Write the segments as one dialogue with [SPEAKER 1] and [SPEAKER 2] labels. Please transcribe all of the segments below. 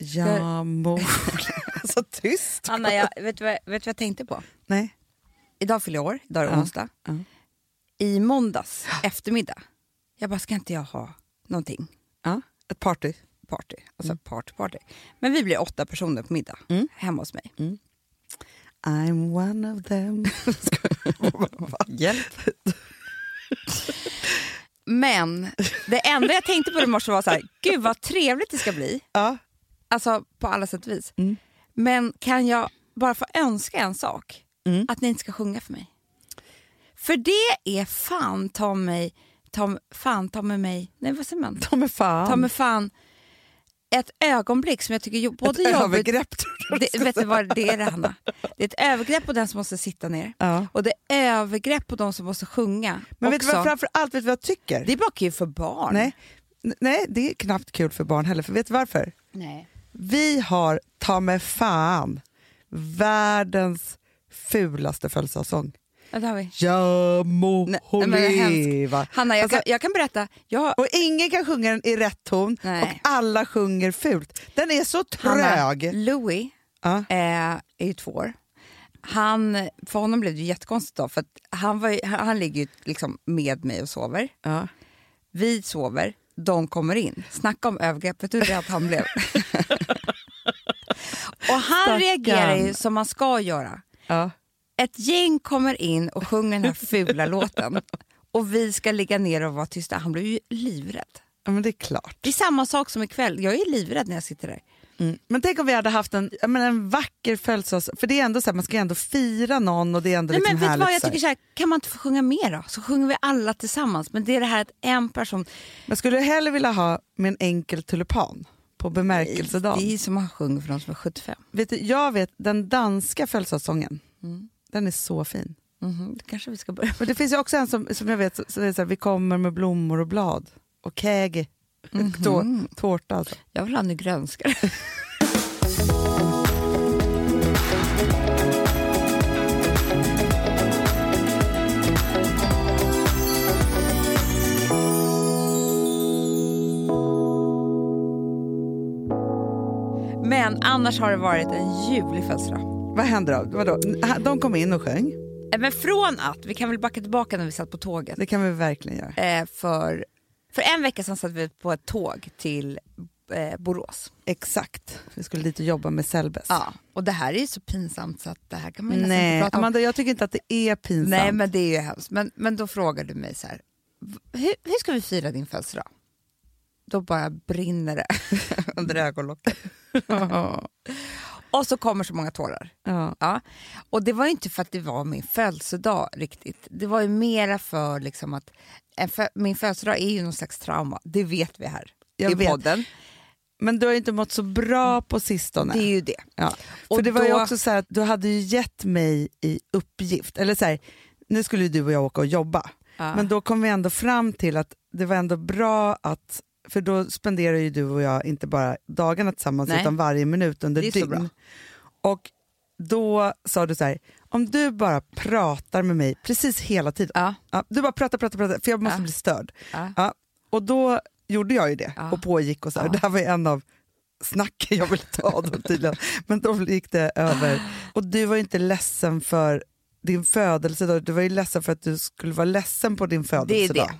[SPEAKER 1] Ja, mor. så tyst.
[SPEAKER 2] Anna, jag, vet, du vad, vet du vad jag tänkte på?
[SPEAKER 1] Nej.
[SPEAKER 2] Idag fyller jag år, idag är det
[SPEAKER 1] Ja,
[SPEAKER 2] onsdag.
[SPEAKER 1] ja.
[SPEAKER 2] I måndags eftermiddag, jag bara, ska inte jag ha någonting?
[SPEAKER 1] Ja, ett party.
[SPEAKER 2] Party, alltså party, party. Men vi blir åtta personer på middag hemma hos mig.
[SPEAKER 1] I'm one of them. Hjälp.
[SPEAKER 2] Men det enda jag tänkte på i morse var så här, gud vad trevligt det ska bli.
[SPEAKER 1] Ja.
[SPEAKER 2] Alltså på alla sätt och vis. Men kan jag bara få önska en sak? Att ni inte ska sjunga för mig. För det är fan ta mig, ta, fan ta med mig, nej vad säger man?
[SPEAKER 1] Ta mig fan.
[SPEAKER 2] Ta mig fan ett ögonblick som jag tycker jo- både
[SPEAKER 1] ett
[SPEAKER 2] jobbigt...
[SPEAKER 1] övergrepp.
[SPEAKER 2] Det, vet du vad det är det Hanna? Det är ett övergrepp på den som måste sitta ner.
[SPEAKER 1] Ja.
[SPEAKER 2] Och det är övergrepp på de som måste sjunga
[SPEAKER 1] Men vet
[SPEAKER 2] också.
[SPEAKER 1] du vad, framför allt, vet du vad jag tycker?
[SPEAKER 2] Det är bara kul för barn.
[SPEAKER 1] Nej. N- Nej, det är knappt kul för barn heller. För vet du varför?
[SPEAKER 2] Nej.
[SPEAKER 1] Vi har, ta mig fan, världens fulaste födelsedagssång.
[SPEAKER 2] Ja, det har vi.
[SPEAKER 1] Jag må
[SPEAKER 2] Nej,
[SPEAKER 1] hon
[SPEAKER 2] men det är hemskt.
[SPEAKER 1] leva.
[SPEAKER 2] Hanna, jag,
[SPEAKER 1] Alltså,
[SPEAKER 2] kan, jag kan berätta. Jag har
[SPEAKER 1] Och ingen kan sjunga den i rätt ton
[SPEAKER 2] Nej.
[SPEAKER 1] och alla sjunger fult. Den är så
[SPEAKER 2] Hanna, Mm.
[SPEAKER 1] trög.
[SPEAKER 2] Louis
[SPEAKER 1] Ja.
[SPEAKER 2] eh, är ju två år. Han, för honom blev det ju jättekonstigt då, för att han, var, ju- han, han ligger ju liksom med mig och sover.
[SPEAKER 1] Ja.
[SPEAKER 2] Vi sover, de kommer in. Snacka om övergrepp, vet du hur rädd han blev? och han
[SPEAKER 1] Stackarn.
[SPEAKER 2] reagerar ju som man ska göra.
[SPEAKER 1] Ja.
[SPEAKER 2] Ett gäng kommer in och sjunger den här fula låten och vi ska ligga ner och vara tysta. Han blev ju livrädd.
[SPEAKER 1] ja, men det är klart.
[SPEAKER 2] Det är samma sak som ikväll. Jag är livrädd när jag sitter där.
[SPEAKER 1] Men tänk om vi hade haft en, jag menar, en vacker födelsedag. För det är ändå så här, man ska ju ändå fira någon och det är ändå
[SPEAKER 2] Nej,
[SPEAKER 1] liksom
[SPEAKER 2] men vet du
[SPEAKER 1] härligt.
[SPEAKER 2] vad, jag
[SPEAKER 1] så här.
[SPEAKER 2] tycker så här, kan man inte få sjunga mer då? Så sjunger vi alla tillsammans. Men det är det här att en person...
[SPEAKER 1] Men skulle du hellre vilja ha med en enkel tulipan på bemärkelsedagen?
[SPEAKER 2] Det är som man sjunger för någon som är 75.
[SPEAKER 1] Vet du, jag vet, den danska födelsedagssången,
[SPEAKER 2] Mm.
[SPEAKER 1] den är så fin.
[SPEAKER 2] Mhm, det kanske vi ska börja
[SPEAKER 1] Men det finns ju också en som, som jag vet, så, så det är så här, vi kommer med blommor och blad och keg.
[SPEAKER 2] Mhm.
[SPEAKER 1] Tå, tårta alltså.
[SPEAKER 2] Jag vill ha en grönska. Men annars har det varit en ljuvlig födelsedag.
[SPEAKER 1] Vad händer då? Vadå? De kom in och sjöng,
[SPEAKER 2] Eh, Men från att, vi kan väl backa tillbaka när vi satt på tåget.
[SPEAKER 1] det kan vi verkligen göra.
[SPEAKER 2] Eh, för, för en vecka sedan satt vi på ett tåg till eh, Borås.
[SPEAKER 1] Exakt, vi skulle dit och jobba med Selbes.
[SPEAKER 2] Ja, och det här är ju så pinsamt så att det här kan man ju nästan
[SPEAKER 1] Nej,
[SPEAKER 2] inte prata om.
[SPEAKER 1] Amanda, jag tycker inte att det är pinsamt.
[SPEAKER 2] Nej, men det är ju hemskt. Men, men då frågar du mig så här, "V- hur, hur ska vi fira din födelsedag? Då bara brinner det under ögonlocken. och så kommer så många tårar.
[SPEAKER 1] Ja.
[SPEAKER 2] Ja. Och det var ju inte för att det var min födelsedag riktigt. Det var ju mera för liksom att en fö- min födelsedag är ju någon slags trauma. Det vet vi här
[SPEAKER 1] Jag
[SPEAKER 2] i
[SPEAKER 1] vet.
[SPEAKER 2] podden.
[SPEAKER 1] Men du har ju inte mått så bra på sistone.
[SPEAKER 2] Det är ju det.
[SPEAKER 1] Ja.
[SPEAKER 2] Och
[SPEAKER 1] För det var ju
[SPEAKER 2] då-
[SPEAKER 1] också så här att du hade ju gett mig i uppgift, eller så här, nu skulle ju du och jag åka och jobba,
[SPEAKER 2] Ja.
[SPEAKER 1] men då kom vi ändå fram till att det var ändå bra att, för då spenderar ju du och jag inte bara dagarna tillsammans
[SPEAKER 2] Nej.
[SPEAKER 1] utan varje minut under
[SPEAKER 2] Det är så bra.
[SPEAKER 1] dygn. Och då sa du så här, om du bara pratar med mig precis hela tiden,
[SPEAKER 2] Ja.
[SPEAKER 1] Ja, du bara pratar, pratar, pratar, för jag måste
[SPEAKER 2] Ja.
[SPEAKER 1] bli störd.
[SPEAKER 2] Ja.
[SPEAKER 1] Ja, och då gjorde jag ju det
[SPEAKER 2] Ja.
[SPEAKER 1] och pågick och så här.
[SPEAKER 2] Ja.
[SPEAKER 1] Det här var ju en av snacken jag ville ta då tydligen. Men då gick det över. Och du var ju inte ledsen för din födelsedag, du var ju ledsen för att du skulle vara ledsen på din
[SPEAKER 2] Det är
[SPEAKER 1] födelsedag.
[SPEAKER 2] det.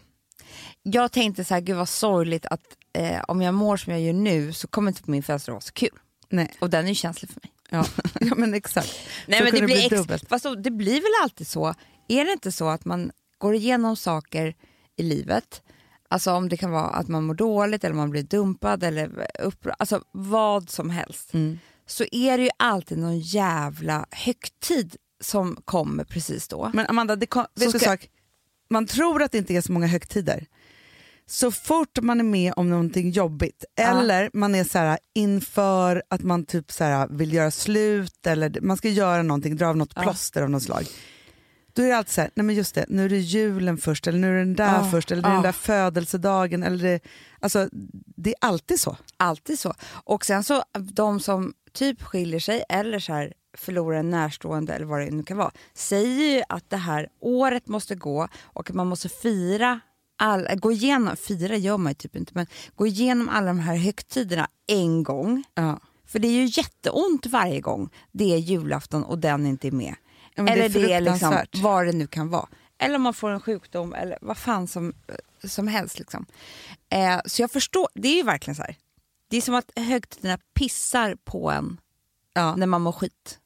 [SPEAKER 2] Jag tänkte så här, gud vad sorgligt att eh, om jag mår som jag gör nu så kommer inte min födelsedag vara så kul.
[SPEAKER 1] Nej.
[SPEAKER 2] Och den är ju känslig för mig.
[SPEAKER 1] Ja. ja men exakt.
[SPEAKER 2] Nej,
[SPEAKER 1] Så
[SPEAKER 2] men
[SPEAKER 1] kunde
[SPEAKER 2] det, blir ex-
[SPEAKER 1] dubbelt.
[SPEAKER 2] Fast då, det blir väl alltid så. Är det inte så att man går igenom saker i livet, alltså om det kan vara att man mår dåligt eller man blir dumpad eller upprörd, alltså vad som helst,
[SPEAKER 1] Mm.
[SPEAKER 2] så är det ju alltid någon jävla högtid som kommer precis då.
[SPEAKER 1] Men Amanda, det kom, vet
[SPEAKER 2] ska-
[SPEAKER 1] du en sak? Man tror att det inte är så många högtider. Så fort man är med om någonting jobbigt eller man är så här inför att man typ så här vill göra slut eller d- man ska göra någonting, dra av något plåster av något slag. Då är det alltid så här, nej men just det, nu är det julen först eller nu är det den där
[SPEAKER 2] Ja,
[SPEAKER 1] först eller det är
[SPEAKER 2] ja.
[SPEAKER 1] den där födelsedagen eller det, alltså det är alltid så.
[SPEAKER 2] Alltid så. Och sen så de som typ skiljer sig eller så här förlorar en närstående eller vad det nu kan vara säger ju att det här året måste gå och att man måste fira all, gå igenom, fira gör man ju typ inte, men gå igenom alla de här högtiderna en gång För det är ju jätteont varje gång det är julafton och den inte är med.
[SPEAKER 1] Ja, men det är
[SPEAKER 2] eller det är liksom
[SPEAKER 1] fruktansvärt.
[SPEAKER 2] vad det nu kan vara. Eller om man får en sjukdom eller vad fan som, som helst. Liksom. Eh, så jag förstår, det är ju verkligen så här. Det är som att högtiderna pissar på en
[SPEAKER 1] Ja.
[SPEAKER 2] när man mår skit.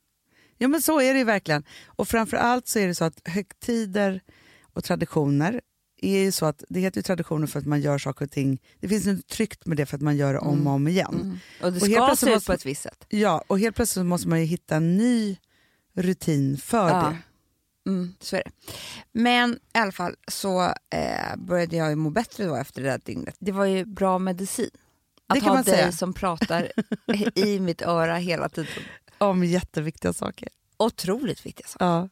[SPEAKER 1] Ja men så är det ju verkligen. Och framförallt så är det så att högtider och traditioner är ju så att det heter ju traditioner för att man gör saker och ting. Det finns något tryggt med det för att man gör det om
[SPEAKER 2] Mm.
[SPEAKER 1] och om igen.
[SPEAKER 2] Och det
[SPEAKER 1] Och helt
[SPEAKER 2] ska
[SPEAKER 1] plötsligt
[SPEAKER 2] se ut
[SPEAKER 1] måste-
[SPEAKER 2] på ett visst sätt.
[SPEAKER 1] Ja, och helt plötsligt måste man ju hitta en ny rutin för
[SPEAKER 2] Ja.
[SPEAKER 1] det.
[SPEAKER 2] Mm, så är det. Men i alla fall så eh, började jag ju må bättre då efter det där dygnet. Det var ju bra medicin. Att
[SPEAKER 1] Det kan
[SPEAKER 2] ha
[SPEAKER 1] man
[SPEAKER 2] dig
[SPEAKER 1] säga.
[SPEAKER 2] som pratar i mitt öra hela tiden.
[SPEAKER 1] Om jätteviktiga saker.
[SPEAKER 2] Otroligt alltså. viktiga saker.
[SPEAKER 1] Ja.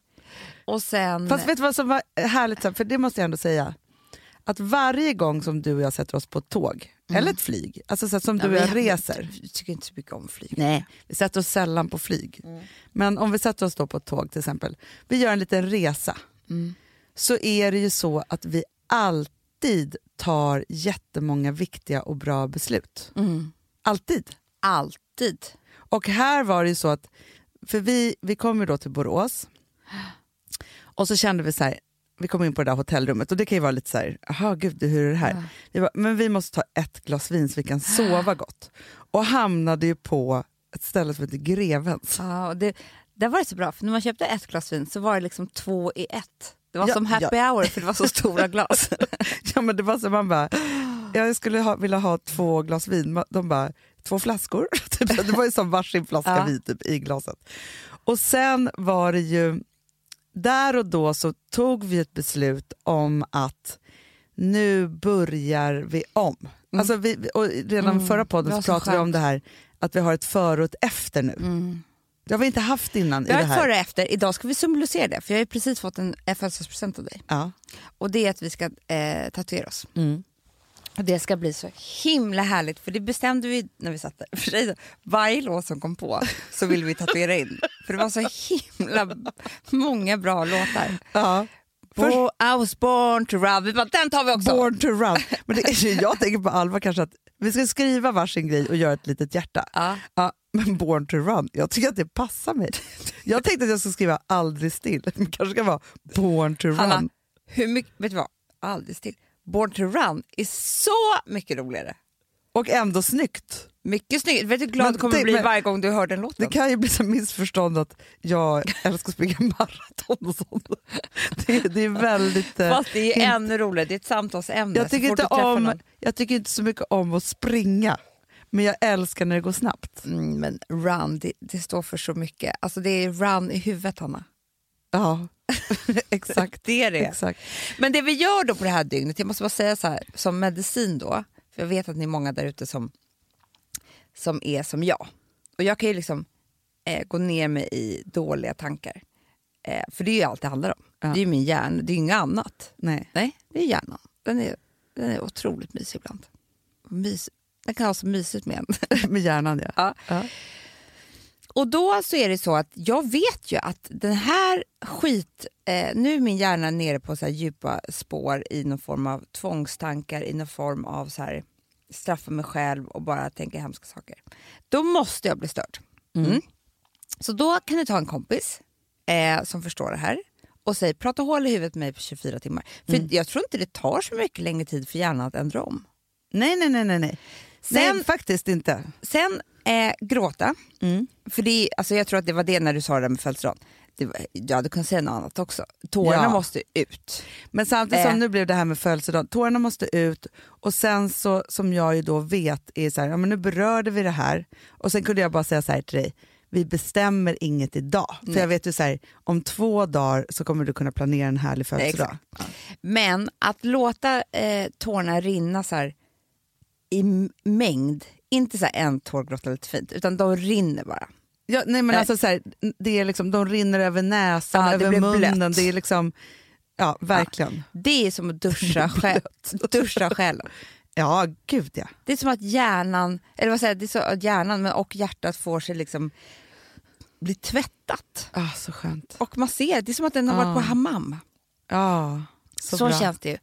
[SPEAKER 2] Och sen...
[SPEAKER 1] Fast vet du vad som var härligt, sen? för det måste jag ändå säga. Att varje gång som du och jag sätter oss på ett tåg, eller ett flyg, alltså så här, som
[SPEAKER 2] Mm. Ja,
[SPEAKER 1] du och
[SPEAKER 2] men
[SPEAKER 1] jag reser.
[SPEAKER 2] Jag tycker inte så mycket om flyg.
[SPEAKER 1] Nej. Vi sätter oss sällan på flyg. Men om vi sätter oss då på ett tåg till exempel, vi gör en liten resa.
[SPEAKER 2] Mm.
[SPEAKER 1] Så är det ju så att vi alltid tar jättemånga viktiga och bra beslut.
[SPEAKER 2] Mm.
[SPEAKER 1] Alltid.
[SPEAKER 2] Alltid.
[SPEAKER 1] Och här var det ju så att, för vi, vi kom ju då till Borås och så kände vi så här, vi kom in på det där hotellrummet och det kan ju vara lite så här, jaha gud hur är det här? Vi bara, men vi måste ta ett glas vin så vi kan sova gott. Och hamnade ju på ett ställe som heter Grevens.
[SPEAKER 2] Ja, och det, där var det så bra, för när man köpte ett glas vin så var det liksom två i ett. Det var
[SPEAKER 1] Ja,
[SPEAKER 2] som happy hour för det var så stora glas.
[SPEAKER 1] Ja men det var så man bara, jag skulle ha, vilja ha två glas vin, Ma- de bara, två flaskor. Typ så. det var ju som varsin flaska
[SPEAKER 2] Ja.
[SPEAKER 1] vin typ, i glaset. Och sen var det ju, där och då så tog vi ett beslut om att nu börjar vi om. Alltså vi, vi- och redan
[SPEAKER 2] Mm.
[SPEAKER 1] förra
[SPEAKER 2] Det
[SPEAKER 1] podden
[SPEAKER 2] var
[SPEAKER 1] så
[SPEAKER 2] så
[SPEAKER 1] pratade vi om
[SPEAKER 2] skönt.
[SPEAKER 1] det här att vi har ett före och ett efter nu. Det har vi inte haft innan i
[SPEAKER 2] Vi
[SPEAKER 1] det
[SPEAKER 2] har ett
[SPEAKER 1] här.
[SPEAKER 2] före och efter, idag ska vi symbolisera det, för jag har ju precis fått en, en födelsedagspresent av dig.
[SPEAKER 1] Ja.
[SPEAKER 2] Och det är att vi ska eh, tatuera oss.
[SPEAKER 1] Mm.
[SPEAKER 2] Och det ska bli så himla härligt, för det bestämde vi när vi satt där. För sig, så, varje låt som kom på så ville vi tatuera in. För det var så himla många bra låtar.
[SPEAKER 1] Ja. Först-
[SPEAKER 2] Bo, I was born to run. Vi bara, den tar vi också!
[SPEAKER 1] Born to run. Men det är ju, jag tänker på allvar kanske att vi ska skriva varsin grej och göra ett litet hjärta.
[SPEAKER 2] Ja.
[SPEAKER 1] Ja, men Born to run, jag tycker att det passar mig. Jag tänkte att jag skulle skriva aldrig still, men kanske ska vara Born to
[SPEAKER 2] Hanna,
[SPEAKER 1] run.
[SPEAKER 2] hur mycket, vet du vad? Alldeles till. Born to run är så mycket roligare.
[SPEAKER 1] Och ändå snyggt.
[SPEAKER 2] Mycket snyggare. Vet du hur glad
[SPEAKER 1] Men
[SPEAKER 2] du kommer
[SPEAKER 1] tänk-
[SPEAKER 2] bli
[SPEAKER 1] men-
[SPEAKER 2] varje gång du hör den
[SPEAKER 1] Det
[SPEAKER 2] låten?
[SPEAKER 1] kan ju bli så missförstånd att jag älskar att springa maraton och sånt. Det, är- det är väldigt... eh,
[SPEAKER 2] Fast det är
[SPEAKER 1] inte-
[SPEAKER 2] ännu roligare, det är ett samtalsämne.
[SPEAKER 1] jag, tycker
[SPEAKER 2] så fort
[SPEAKER 1] inte
[SPEAKER 2] du träffar
[SPEAKER 1] om,
[SPEAKER 2] någon.
[SPEAKER 1] jag tycker inte så mycket om att springa, men jag älskar när det går snabbt.
[SPEAKER 2] Mm, men run, det, det står för så mycket. Alltså det är run i huvudet, Hanna.
[SPEAKER 1] Ja, exakt.
[SPEAKER 2] Det är det.
[SPEAKER 1] exakt.
[SPEAKER 2] Men det vi gör då på det här dygnet, jag måste bara säga så här, som medicin då, för jag vet att ni är många där ute som, som är som jag. Och jag kan ju liksom eh, gå ner mig i dåliga tankar. Eh, för det är ju allt det handlar om.
[SPEAKER 1] Ja.
[SPEAKER 2] Det är ju min hjärna, det är ju inget annat.
[SPEAKER 1] Nej.
[SPEAKER 2] Nej, det är hjärnan. Den är, den är otroligt mysig ibland. Mys, den kan ha så mysigt med en.
[SPEAKER 1] Med hjärnan ja.
[SPEAKER 2] Ja. Och då så är det så att jag vet ju att den här skit... Eh, nu är min hjärna nere på så här djupa spår i någon form av tvångstankar, i någon form av så här straffa mig själv och bara tänka hemska saker. Då måste jag bli störd. Mm. Så då kan du ta en kompis eh, som förstår det här och säg prata hål i huvudet med mig på 24 timmar. För jag tror inte det tar så mycket längre tid för hjärnan att ändra om.
[SPEAKER 1] Nej, nej, nej, nej. nej.
[SPEAKER 2] Sen-
[SPEAKER 1] nej, faktiskt inte.
[SPEAKER 2] Sen eh, gråta.
[SPEAKER 1] Mm.
[SPEAKER 2] För det, är- alltså jag tror att det var det när du sa det där med födelsedagen. Det var- Jag hade kunnat säga något annat också. Tårarna
[SPEAKER 1] Ja.
[SPEAKER 2] måste ut.
[SPEAKER 1] Men samtidigt
[SPEAKER 2] Eh.
[SPEAKER 1] som nu blev det här med födelsedagen, tårarna måste ut och sen så som jag ju då vet är så här, ja, men nu berörde vi det här och sen kunde jag bara säga så här till dig, vi bestämmer inget idag. För jag vet ju så här, om två dagar så kommer du kunna planera en härlig födelsedag.
[SPEAKER 2] Men att låta eh, tårarna rinna så här i m- mängd, inte så här en tårgrotta lite fint, utan de rinner bara.
[SPEAKER 1] Ja, nej men
[SPEAKER 2] Nej.
[SPEAKER 1] alltså så här, det är liksom, de rinner över näsan,
[SPEAKER 2] Ja, det
[SPEAKER 1] över
[SPEAKER 2] blir
[SPEAKER 1] munnen,
[SPEAKER 2] blött.
[SPEAKER 1] det är liksom, ja verkligen.
[SPEAKER 2] Det är som att duscha, själ, duscha själen.
[SPEAKER 1] Ja, gud ja.
[SPEAKER 2] Det är som att hjärnan, eller vad säger jag, det är så att hjärnan men- och hjärtat får sig liksom bli tvättat
[SPEAKER 1] Ah, så skönt.
[SPEAKER 2] och masserat. Det är som att den har varit på hammam.
[SPEAKER 1] Ja, så,
[SPEAKER 2] Så,
[SPEAKER 1] Ah. bra.
[SPEAKER 2] känns det ju.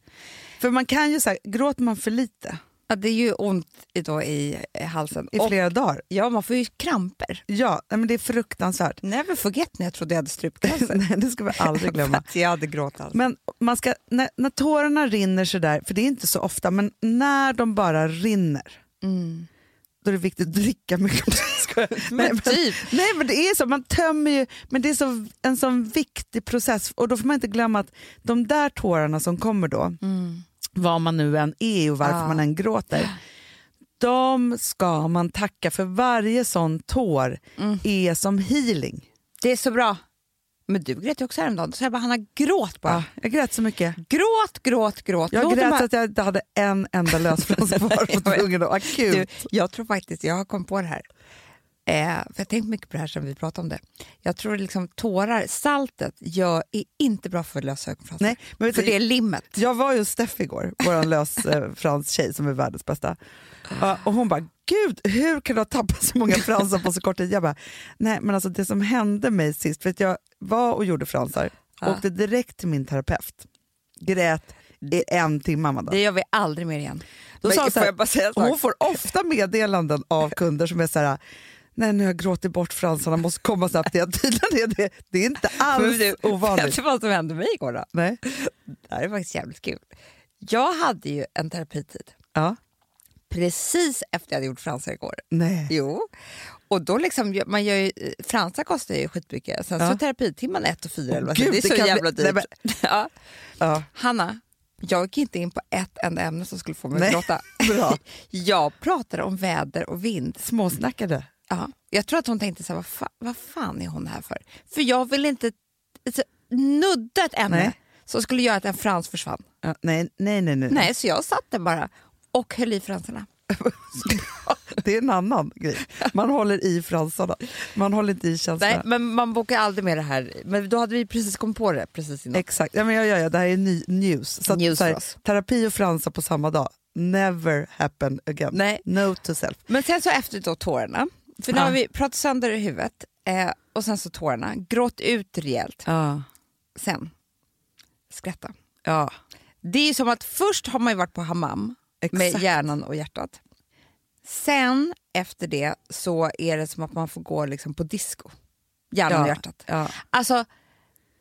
[SPEAKER 1] För man kan ju säga, gråter man för lite,
[SPEAKER 2] Ja, det är ju ont i- då i eh, halsen.
[SPEAKER 1] i
[SPEAKER 2] Och-
[SPEAKER 1] flera dagar.
[SPEAKER 2] Ja, man får ju kramper.
[SPEAKER 1] Ja, nej, men det är fruktansvärt.
[SPEAKER 2] Never forget när jag trodde jag hade strupcancer.
[SPEAKER 1] Nej, det ska vi aldrig glömma.
[SPEAKER 2] För att jag hade gråthalsen.
[SPEAKER 1] Men man ska, när, när tårarna rinner sådär, för det är inte så ofta, men när de bara rinner,
[SPEAKER 2] Mm.
[SPEAKER 1] då är det viktigt att dricka mycket. Ska jag- Nej,
[SPEAKER 2] Men
[SPEAKER 1] men-
[SPEAKER 2] typ.
[SPEAKER 1] Nej men det är så, man tömmer ju, men det är så, en sån viktig process och då får man inte glömma att de där tårarna som kommer då,
[SPEAKER 2] Mm.
[SPEAKER 1] vad man nu än är och varför
[SPEAKER 2] Ja.
[SPEAKER 1] man än gråter, de ska man tacka för varje sån tår
[SPEAKER 2] Mm.
[SPEAKER 1] är som healing.
[SPEAKER 2] Det är så bra. Men du grät ju också häromdagen. Så jag bara, Hanna gråt bara.
[SPEAKER 1] Ja, jag grät så mycket.
[SPEAKER 2] Gråt, gråt, gråt.
[SPEAKER 1] Jag
[SPEAKER 2] Låt dem
[SPEAKER 1] grät
[SPEAKER 2] bara-
[SPEAKER 1] så att jag inte hade en enda lösfrans kvar på
[SPEAKER 2] Jag vet.
[SPEAKER 1] tungan och akut.
[SPEAKER 2] Du, jag tror faktiskt, jag har kommit på det här. Eh, för jag har tänkt mycket på det här sen vi pratade om det. Jag tror liksom tårar, saltet gör, är inte bra för lösa ögonfransar.
[SPEAKER 1] Nej, men vet
[SPEAKER 2] för
[SPEAKER 1] du,
[SPEAKER 2] det är limmet.
[SPEAKER 1] Jag var ju hos Steff igår, vår lösfranstjej som är världens bästa. Ja, Och hon bara, gud hur kan du ha tappat så många fransar på så kort tid? Jag bara, nej men alltså det som hände mig sist, för att jag var och gjorde fransar,
[SPEAKER 2] Ja.
[SPEAKER 1] åkte direkt till min terapeut, grät i en timme Amanda.
[SPEAKER 2] Det gör vi aldrig mer igen.
[SPEAKER 1] Då
[SPEAKER 2] Men
[SPEAKER 1] sa hon så
[SPEAKER 2] får
[SPEAKER 1] här,
[SPEAKER 2] jag bara säga en
[SPEAKER 1] och
[SPEAKER 2] sak?
[SPEAKER 1] hon får ofta meddelanden av kunder som är så här, nej nu har jag gråtit bort fransarna, måste komma snabbt igen. Tydligen är det, det är inte
[SPEAKER 2] Men
[SPEAKER 1] alls
[SPEAKER 2] du, Vet
[SPEAKER 1] ovanligt.
[SPEAKER 2] du vad som hände mig igår då?
[SPEAKER 1] Nej.
[SPEAKER 2] Det här är faktiskt jävligt kul. Jag hade ju en terapitid
[SPEAKER 1] Ja.
[SPEAKER 2] precis efter jag hade gjort fransar igår.
[SPEAKER 1] Nej.
[SPEAKER 2] Jo, och då liksom, gör- man gör ju, eh, fransar kostar ju skitmycket. Sen
[SPEAKER 1] Ja.
[SPEAKER 2] så terapitimman ett och fyra
[SPEAKER 1] Åh,
[SPEAKER 2] eller vad det
[SPEAKER 1] gud,
[SPEAKER 2] är. Det
[SPEAKER 1] det
[SPEAKER 2] är så
[SPEAKER 1] kan bli-
[SPEAKER 2] jävla
[SPEAKER 1] Nej,
[SPEAKER 2] dyrt. ja.
[SPEAKER 1] Ja.
[SPEAKER 2] Hanna, jag gick inte in på ett enda ämne som skulle få mig
[SPEAKER 1] Nej.
[SPEAKER 2] att gråta.
[SPEAKER 1] Bra.
[SPEAKER 2] Jag pratade om väder och vind.
[SPEAKER 1] Småsnackade.
[SPEAKER 2] Ja. Jag tror att hon tänkte så här, vad, fa vad fan är hon här för? För jag vill inte alltså, nudda ett ämne
[SPEAKER 1] Nej.
[SPEAKER 2] som skulle göra att en frans försvann.
[SPEAKER 1] Ja, nej, nej, nej, nej.
[SPEAKER 2] Nej, så jag satt där bara och höll i fransarna.
[SPEAKER 1] Det är en annan grej. Man håller i fransarna. Man håller inte i
[SPEAKER 2] Nej,
[SPEAKER 1] känslorna.
[SPEAKER 2] men man bokar aldrig med det här. Men då hade vi precis kommit på det precis innan.
[SPEAKER 1] Exakt. Ja, men jag gör ja, Det här är ny, news. Så att,
[SPEAKER 2] News
[SPEAKER 1] så här,
[SPEAKER 2] för oss.
[SPEAKER 1] terapi och fransar på samma dag. Never happen again.
[SPEAKER 2] Nej.
[SPEAKER 1] No to self.
[SPEAKER 2] Men sen så efter då tårarna, för nu
[SPEAKER 1] Ja.
[SPEAKER 2] har vi pratat sönder i huvudet eh, och sen så tårarna, gråt ut rejält,
[SPEAKER 1] Ja.
[SPEAKER 2] sen skratta.
[SPEAKER 1] ja.
[SPEAKER 2] Det är ju som att först har man ju varit på hammam med
[SPEAKER 1] Exakt.
[SPEAKER 2] hjärnan och hjärtat. Sen efter det så är det som att man får gå liksom på disco, hjärnan och
[SPEAKER 1] Ja.
[SPEAKER 2] hjärtat.
[SPEAKER 1] Ja.
[SPEAKER 2] Alltså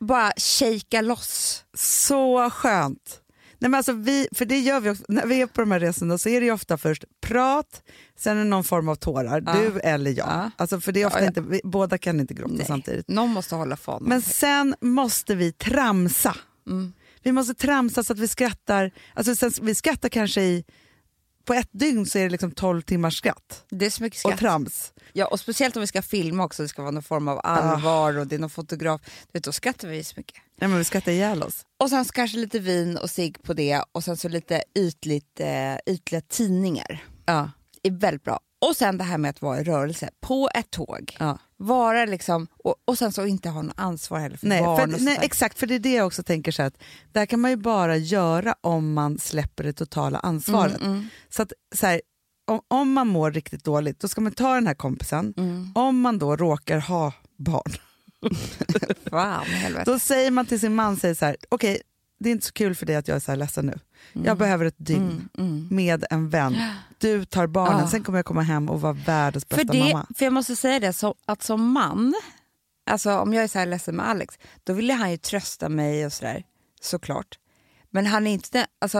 [SPEAKER 2] bara shakea loss.
[SPEAKER 1] Så skönt. Nej, men alltså vi, för det gör vi också. När vi är på de här resorna så är det ju ofta först prat, sen är det någon form av tårar.
[SPEAKER 2] Ja.
[SPEAKER 1] Du eller jag.
[SPEAKER 2] Ja.
[SPEAKER 1] Alltså, för det är ofta
[SPEAKER 2] Ja, ja.
[SPEAKER 1] Inte, vi, båda kan inte gråta
[SPEAKER 2] Nej.
[SPEAKER 1] samtidigt.
[SPEAKER 2] Någon måste hålla fan.
[SPEAKER 1] Men sen måste vi tramsa.
[SPEAKER 2] Mm.
[SPEAKER 1] Vi måste tramsa så att vi skrattar. Alltså sen, vi skrattar kanske i... På ett dygn så är det liksom 12 timmars skratt,
[SPEAKER 2] det är så mycket
[SPEAKER 1] och
[SPEAKER 2] skratt.
[SPEAKER 1] trams.
[SPEAKER 2] Ja, och speciellt om vi ska filma också, det ska vara någon form
[SPEAKER 1] Ah.
[SPEAKER 2] av allvar och det är någon fotograf. Du vet, då skrattar vi så mycket.
[SPEAKER 1] Nej, men vi skrattar ihjäl oss.
[SPEAKER 2] Och sen så kanske lite vin och cigg på det och sen så lite ytligt, eh, ytliga tidningar.
[SPEAKER 1] Ja.
[SPEAKER 2] Det är väldigt bra. Och sen det här med att vara i rörelse, på ett tåg.
[SPEAKER 1] Ja.
[SPEAKER 2] Vara liksom, och, och sen så inte ha något ansvar heller för
[SPEAKER 1] Nej,
[SPEAKER 2] barn
[SPEAKER 1] för,
[SPEAKER 2] och
[SPEAKER 1] nej,
[SPEAKER 2] sånt där.
[SPEAKER 1] exakt, för det är det jag också tänker. Så här att det här kan man ju bara göra om man släpper det totala ansvaret.
[SPEAKER 2] Mm, mm,
[SPEAKER 1] Så att, så här, om, om man mår riktigt dåligt, då ska man ta den här kompisen.
[SPEAKER 2] mm.
[SPEAKER 1] Om man då råkar ha barn,
[SPEAKER 2] Fan i helvete.
[SPEAKER 1] Då säger man till sin man, säger så här, okej det är inte så kul för dig att jag är så här ledsen nu. Jag behöver ett dygn
[SPEAKER 2] Mm, mm.
[SPEAKER 1] med en vän. Du tar barnen,
[SPEAKER 2] Ah.
[SPEAKER 1] sen kommer jag komma hem och vara världens
[SPEAKER 2] För,
[SPEAKER 1] bästa
[SPEAKER 2] det,
[SPEAKER 1] mamma.
[SPEAKER 2] för jag måste säga det, så, att som man, alltså om jag är så här ledsen med Alex, då vill han ju trösta mig och sådär, såklart. Men han är inte den, alltså,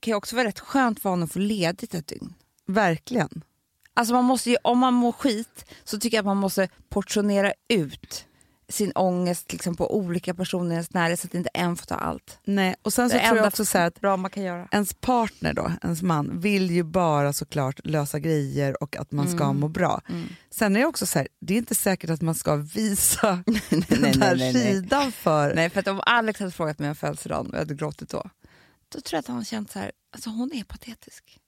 [SPEAKER 2] kan ju också vara rätt skönt för honom att få ledigt ett dygn.
[SPEAKER 1] Verkligen.
[SPEAKER 2] Alltså man måste ju, om man mår skit så tycker jag att man måste portionera ut sin ångest liksom, på olika personer i ens närhet så att inte en får ta allt.
[SPEAKER 1] Nej. Och sen så
[SPEAKER 2] Det
[SPEAKER 1] Alltså, tror jag
[SPEAKER 2] enda
[SPEAKER 1] också så här att
[SPEAKER 2] Bra man kan göra.
[SPEAKER 1] ens partner då, ens man, vill ju bara såklart lösa grejer och att man
[SPEAKER 2] Mm.
[SPEAKER 1] ska må bra. Sen är det också så här, det är inte säkert att man ska visa den här sidan för...
[SPEAKER 2] Nej, för att om Alex hade frågat mig om födelsedagen och jag hade gråtit då, då tror jag att han hade känt så här, alltså hon är patetisk.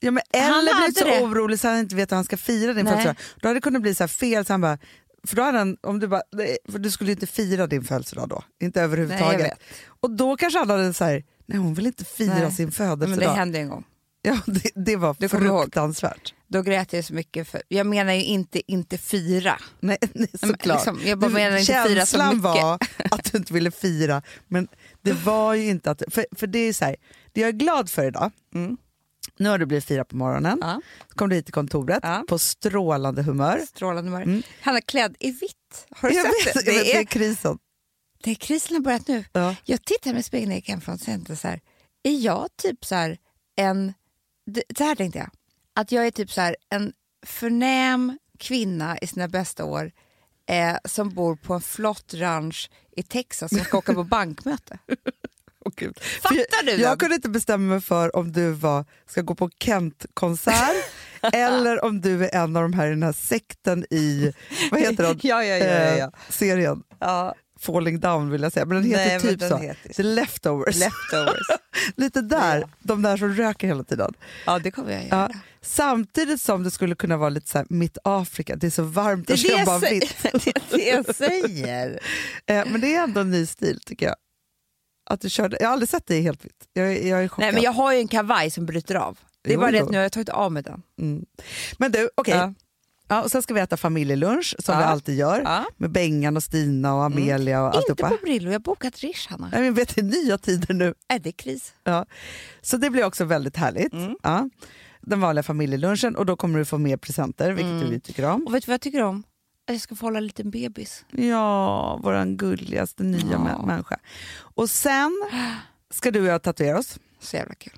[SPEAKER 1] Ja, men
[SPEAKER 2] Han
[SPEAKER 1] eller
[SPEAKER 2] hade
[SPEAKER 1] blir så
[SPEAKER 2] det.
[SPEAKER 1] orolig så han inte vet hur han ska fira din
[SPEAKER 2] Nej.
[SPEAKER 1] födelsedag. Då hade det kunnat bli så här fel, så han bara, för då hade han, om du bara, nej, för du skulle ju inte fira din födelsedag då, inte överhuvudtaget.
[SPEAKER 2] Nej, jag vet.
[SPEAKER 1] och då kanske alla hade så här, nej hon vill inte fira
[SPEAKER 2] Nej.
[SPEAKER 1] sin
[SPEAKER 2] Men det
[SPEAKER 1] födelsedag.
[SPEAKER 2] hände en gång.
[SPEAKER 1] ja, det, det var
[SPEAKER 2] Du kommer ihåg.
[SPEAKER 1] fruktansvärt.
[SPEAKER 2] Då grät jag så mycket. För, jag menar ju inte inte fira.
[SPEAKER 1] Nej, nej,
[SPEAKER 2] Men
[SPEAKER 1] såklart.
[SPEAKER 2] liksom, jag bara menar inte fira så
[SPEAKER 1] Känslan
[SPEAKER 2] mycket.
[SPEAKER 1] var att du inte ville fira, men det var ju inte att... För, för det är så här, det jag är glad för idag, Nu har det blivit fyra på morgonen.
[SPEAKER 2] Mm. Ja.
[SPEAKER 1] Så kom du hit till kontoret
[SPEAKER 2] Ja.
[SPEAKER 1] på strålande humör.
[SPEAKER 2] Strålande humör.
[SPEAKER 1] Mm.
[SPEAKER 2] Hanna klädd i vitt. Har du
[SPEAKER 1] jag
[SPEAKER 2] sett
[SPEAKER 1] vet,
[SPEAKER 2] det?
[SPEAKER 1] jag vet,
[SPEAKER 2] Det är,
[SPEAKER 1] krisen.
[SPEAKER 2] det är krisen har börjat nu.
[SPEAKER 1] Ja.
[SPEAKER 2] Jag tittar mig i spegeln när jag gick hemifrån och tänkte så här, är jag typ så här en... d- Så här tänkte jag. Att jag är typ så här en förnäm kvinna i sina bästa år eh, som bor på en flott ranch i Texas som ska åka på bankmöte.
[SPEAKER 1] Åh, Gud.
[SPEAKER 2] Fattar
[SPEAKER 1] För
[SPEAKER 2] du
[SPEAKER 1] jag,
[SPEAKER 2] den?
[SPEAKER 1] jag kunde inte bestämma mig för om du var, ska gå på Kent-konsert eller om du är en av de här i den här sekten i vad heter den?
[SPEAKER 2] Ja, ja, ja, ja, ja.
[SPEAKER 1] Eh, serien
[SPEAKER 2] ja.
[SPEAKER 1] Falling Down vill jag säga, men den heter
[SPEAKER 2] Nej, men
[SPEAKER 1] typ
[SPEAKER 2] den
[SPEAKER 1] så.
[SPEAKER 2] heter-
[SPEAKER 1] The Leftovers.
[SPEAKER 2] Leftovers.
[SPEAKER 1] Lite där,
[SPEAKER 2] Ja.
[SPEAKER 1] de där som röker hela tiden.
[SPEAKER 2] Ja, det kommer jag göra.
[SPEAKER 1] Ja. Samtidigt som det skulle kunna vara lite så här, mitt Afrika, det är så varmt
[SPEAKER 2] Det
[SPEAKER 1] och
[SPEAKER 2] är det,
[SPEAKER 1] jag bara
[SPEAKER 2] jag säger,
[SPEAKER 1] vitt.
[SPEAKER 2] det är det jag säger.
[SPEAKER 1] Eh, Men det är ändå en ny stil tycker jag. Att du körde, jag har aldrig sett dig i helt vitt. Jag, är- jag är chockad.
[SPEAKER 2] Nej, men jag har ju en kavaj som bryter av. Det är
[SPEAKER 1] Jo,
[SPEAKER 2] bara det
[SPEAKER 1] jo.
[SPEAKER 2] att nu har jag tagit av mig den.
[SPEAKER 1] Mm. Men du, okej.
[SPEAKER 2] Ja.
[SPEAKER 1] Ja, och sen ska vi äta familjelunch som
[SPEAKER 2] Ja.
[SPEAKER 1] vi alltid gör
[SPEAKER 2] Ja. Mm.
[SPEAKER 1] med Bengan och Stina och Amelia och
[SPEAKER 2] Inte
[SPEAKER 1] alltihopa.
[SPEAKER 2] på Brillo, jag har bokat Rish, Hanna.
[SPEAKER 1] Nej, men vet, det är nya tider nu.
[SPEAKER 2] Är det kris?
[SPEAKER 1] Ja. Så det blir också väldigt härligt.
[SPEAKER 2] Mm.
[SPEAKER 1] Ja. Den vanliga familjelunchen och då kommer du få mer presenter, vilket
[SPEAKER 2] Mm.
[SPEAKER 1] vi tycker om.
[SPEAKER 2] Och vet du vad jag tycker om? Att jag ska få hålla en liten bebis.
[SPEAKER 1] Ja, våran gulligaste nya
[SPEAKER 2] Ja.
[SPEAKER 1] mä- människa. Och sen ska du och jag tatuera oss
[SPEAKER 2] Så jävla kul.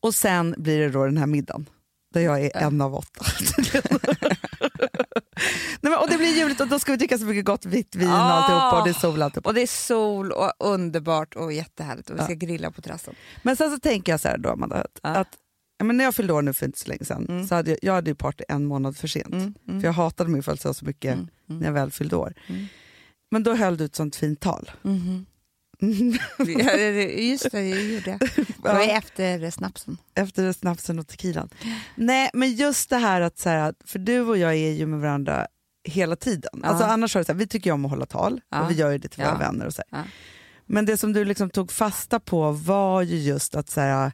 [SPEAKER 1] och sen blir det då den här middagen där jag är en av åtta. Nej, men, och det blir ljuvligt och då ska vi dricka så mycket gott vitt vin och
[SPEAKER 2] Ah.
[SPEAKER 1] alltihopa och det är sol och alltihopa.
[SPEAKER 2] Och det är sol och underbart och jättehärligt och vi ska grilla på terrassen.
[SPEAKER 1] Men sen så tänker jag så här då, Amanda, att,
[SPEAKER 2] Ja. Mm.
[SPEAKER 1] att ja, men när jag fyllde år nu för inte så länge sedan, så hade jag, jag hade ju party en månad för sent. För jag hatade min födelsedag så mycket
[SPEAKER 2] Mm.
[SPEAKER 1] när jag väl fyllde år. Men då höll du ett sånt fint tal.
[SPEAKER 2] Mm. Ja, det- det- Mm. Just det, jag gjorde. Det var ju efter snapsen.
[SPEAKER 1] Efter snapsen och tequilan. Nej, men just det här att, så här, att- för du och jag är ju med varandra hela tiden.
[SPEAKER 2] Ja.
[SPEAKER 1] Alltså, annars har det så här, vi tycker ju om att hålla tal
[SPEAKER 2] Ja.
[SPEAKER 1] och vi gör ju det till våra
[SPEAKER 2] Ja.
[SPEAKER 1] vänner. Och så här.
[SPEAKER 2] Ja.
[SPEAKER 1] Men det som du liksom tog fasta på var ju just att så här,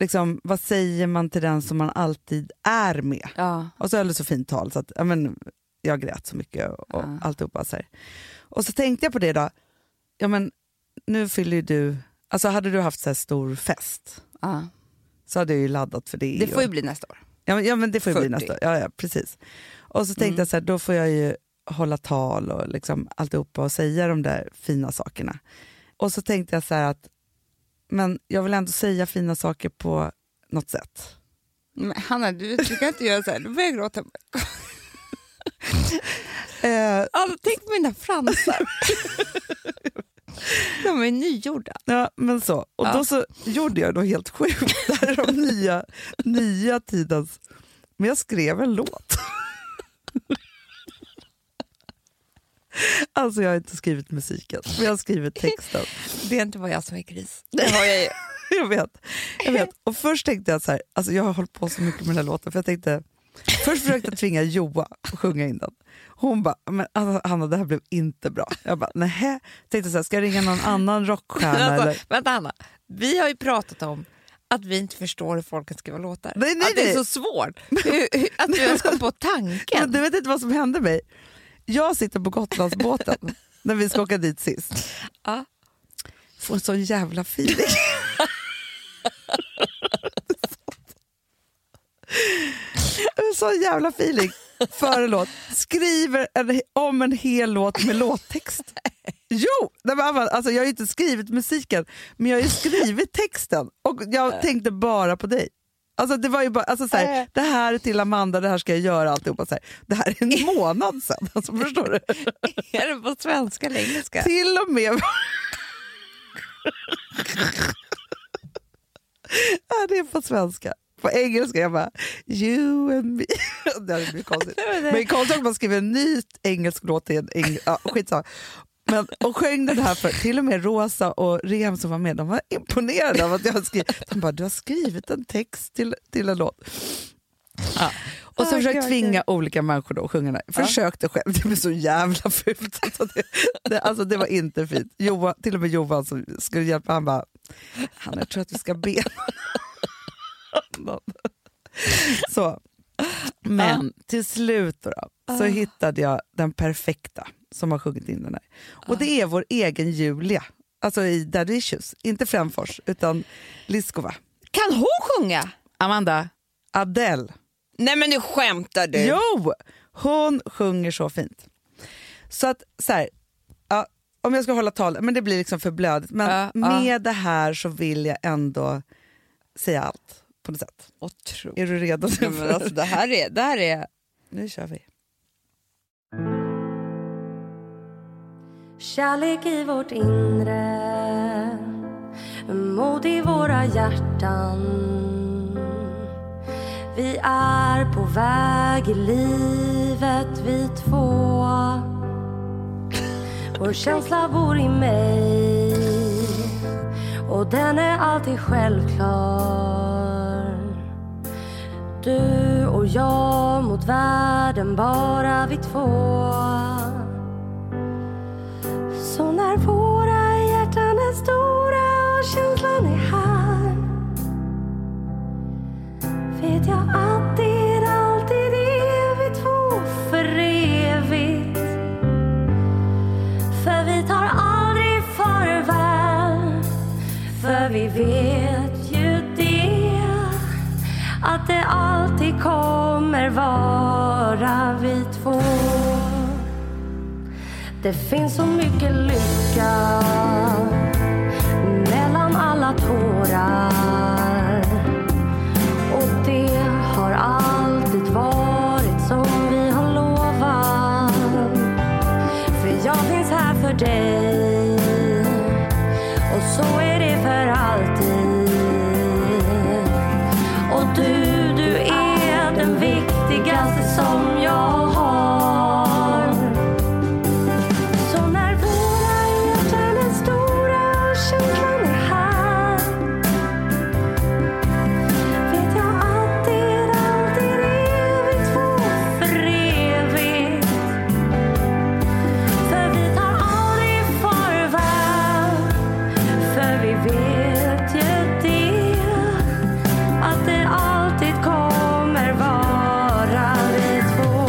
[SPEAKER 1] liksom, vad säger man till den som man alltid är med?
[SPEAKER 2] Ja.
[SPEAKER 1] Och så höll du så fint tal så att ja, men, jag grät så mycket och, och
[SPEAKER 2] Ja.
[SPEAKER 1] alltihopa. Så här. Och så tänkte jag på det då, ja men nu fyller ju du, alltså hade du haft så här stor fest
[SPEAKER 2] Ja.
[SPEAKER 1] så hade jag ju laddat för det.
[SPEAKER 2] Det får ju
[SPEAKER 1] och,
[SPEAKER 2] bli nästa år.
[SPEAKER 1] ja, men, ja men det får ju bli
[SPEAKER 2] 40.
[SPEAKER 1] nästa, ja ja precis. Och så tänkte
[SPEAKER 2] Mm.
[SPEAKER 1] jag så här, då får jag ju hålla tal och liksom alltihopa och säga de där fina sakerna. Och så tänkte jag så här att, men jag vill ändå säga fina saker på något sätt.
[SPEAKER 2] Men Hanna, du, du kan inte göra så här. Nu börjar jag gråta.
[SPEAKER 1] Eh,
[SPEAKER 2] Alltså, tänk på mina fransar. De är nygjorda.
[SPEAKER 1] Ja, men så. Och
[SPEAKER 2] Ja.
[SPEAKER 1] då så gjorde jag något helt sjukt. Det här är de nya, nya tidens... Men jag skrev en låt. Alltså jag har inte skrivit musiken, men jag har skrivit texten.
[SPEAKER 2] Det är inte bara jag som är kris. Det har jag ju.
[SPEAKER 1] Jag vet. Jag vet. Och först tänkte jag så här, alltså jag har hållit på så mycket med den här låten, för jag tänkte, först försökte jag tvinga Joa att sjunga in den. Hon bara, men alltså, Hanna det här blev inte bra. Jag bara, nähä. Tänkte så här, ska jag ringa någon annan rockstjärna eller?
[SPEAKER 2] Alltså, vänta Hanna, vi har ju pratat om att vi inte förstår hur folk kan skriva låtar.
[SPEAKER 1] Nej, nej,
[SPEAKER 2] att det är
[SPEAKER 1] nej.
[SPEAKER 2] så svårt. Hur- hur- att du ens kom på
[SPEAKER 1] Men
[SPEAKER 2] tanken.
[SPEAKER 1] du vet inte vad som hände mig. Jag sitter på Gotlandsbåten när vi ska åka dit sist.
[SPEAKER 2] Ja.
[SPEAKER 1] Får en sån jävla feeling. en sån jävla feeling för en låt. Skriver en, om en hel låt med låttext. Jo! Nej, men Amanda, alltså, jag har ju inte skrivit musiken, men jag har ju skrivit texten och jag tänkte bara på dig. Alltså, det, var ju bara, alltså, så här, det här är till Amanda, det här ska jag göra alltihopa. Så här, det här är en månad sedan, alltså, förstår du?
[SPEAKER 2] Är det på svenska eller engelska?
[SPEAKER 1] Till och med... ja, det är på svenska. På engelska, jag bara you and me. det hade blivit konstigt. Men konstigt att man skriver en ny engelsk låt i en eng- ja, skitsamma. Men, och sjöng den här för till och med Rosa och Rem som var med, de var imponerade av att jag hade skrivit. De bara, du har skrivit en text till, till en låt. Ja. Och så
[SPEAKER 2] Ah,
[SPEAKER 1] försökt
[SPEAKER 2] gud,
[SPEAKER 1] tvinga olika människor då att sjunga den. här. Försökte själv, det blev så jävla fult. Alltså det, det, alltså det var inte fint. Johan, till och med Johan som skulle hjälpa, han bara, han jag tror att vi ska be så. Men till slut då då,
[SPEAKER 2] Ah.
[SPEAKER 1] så hittade jag den perfekta som har sjungit in den här. Och
[SPEAKER 2] Ah.
[SPEAKER 1] det är vår egen Julia, alltså i Daddy Issues. Inte Främfors, utan Liskova.
[SPEAKER 2] Kan hon sjunga?
[SPEAKER 1] Amanda, Adele.
[SPEAKER 3] Nej men nu skämtar du.
[SPEAKER 1] Jo! Hon sjunger så fint. Så att så här, ja, om jag ska hålla tal, men det blir liksom för blödigt. Men
[SPEAKER 2] Ja, ja.
[SPEAKER 1] med det här så vill jag ändå säga allt på något sätt.
[SPEAKER 3] Otroligt.
[SPEAKER 1] Är du redo?
[SPEAKER 3] Nej, men alltså, det, här är, det här är...
[SPEAKER 1] Nu kör vi.
[SPEAKER 4] Kärlek i vårt inre Mod i våra hjärtan Vi är på väg i livet vi två Vår känsla bor i mig Och den är alltid självklar Du och jag mot världen, bara vi två så när våra hjärtan är stora och känslan är här vet jag att det är alltid är vi två för evigt För vi tar aldrig farväl För vi vet ju det att det alltid kommer vara vi två det finns så mycket lycka mellan alla tårar och det har alltid varit som vi har lovat för jag finns här för dig och så är det för alltid och du, du är den viktigaste som jag har så när våra hjärtan är stora och känslan är här vet jag att det alltid är vi två för evigt För vi tar aldrig farväl För vi vet ju det att det alltid kommer vara vi två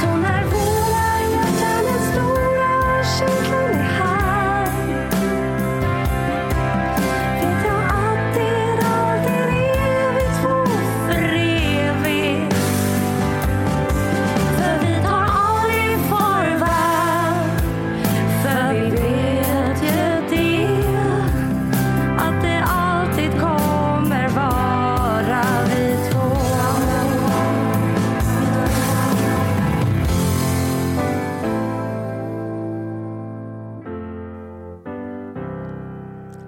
[SPEAKER 4] Så när våra hjärtan är stora och känslan är här vet jag att det alltid är vi två för evigt För vi tar aldrig farväl För vi vet ju det att det alltid kommer vara vi två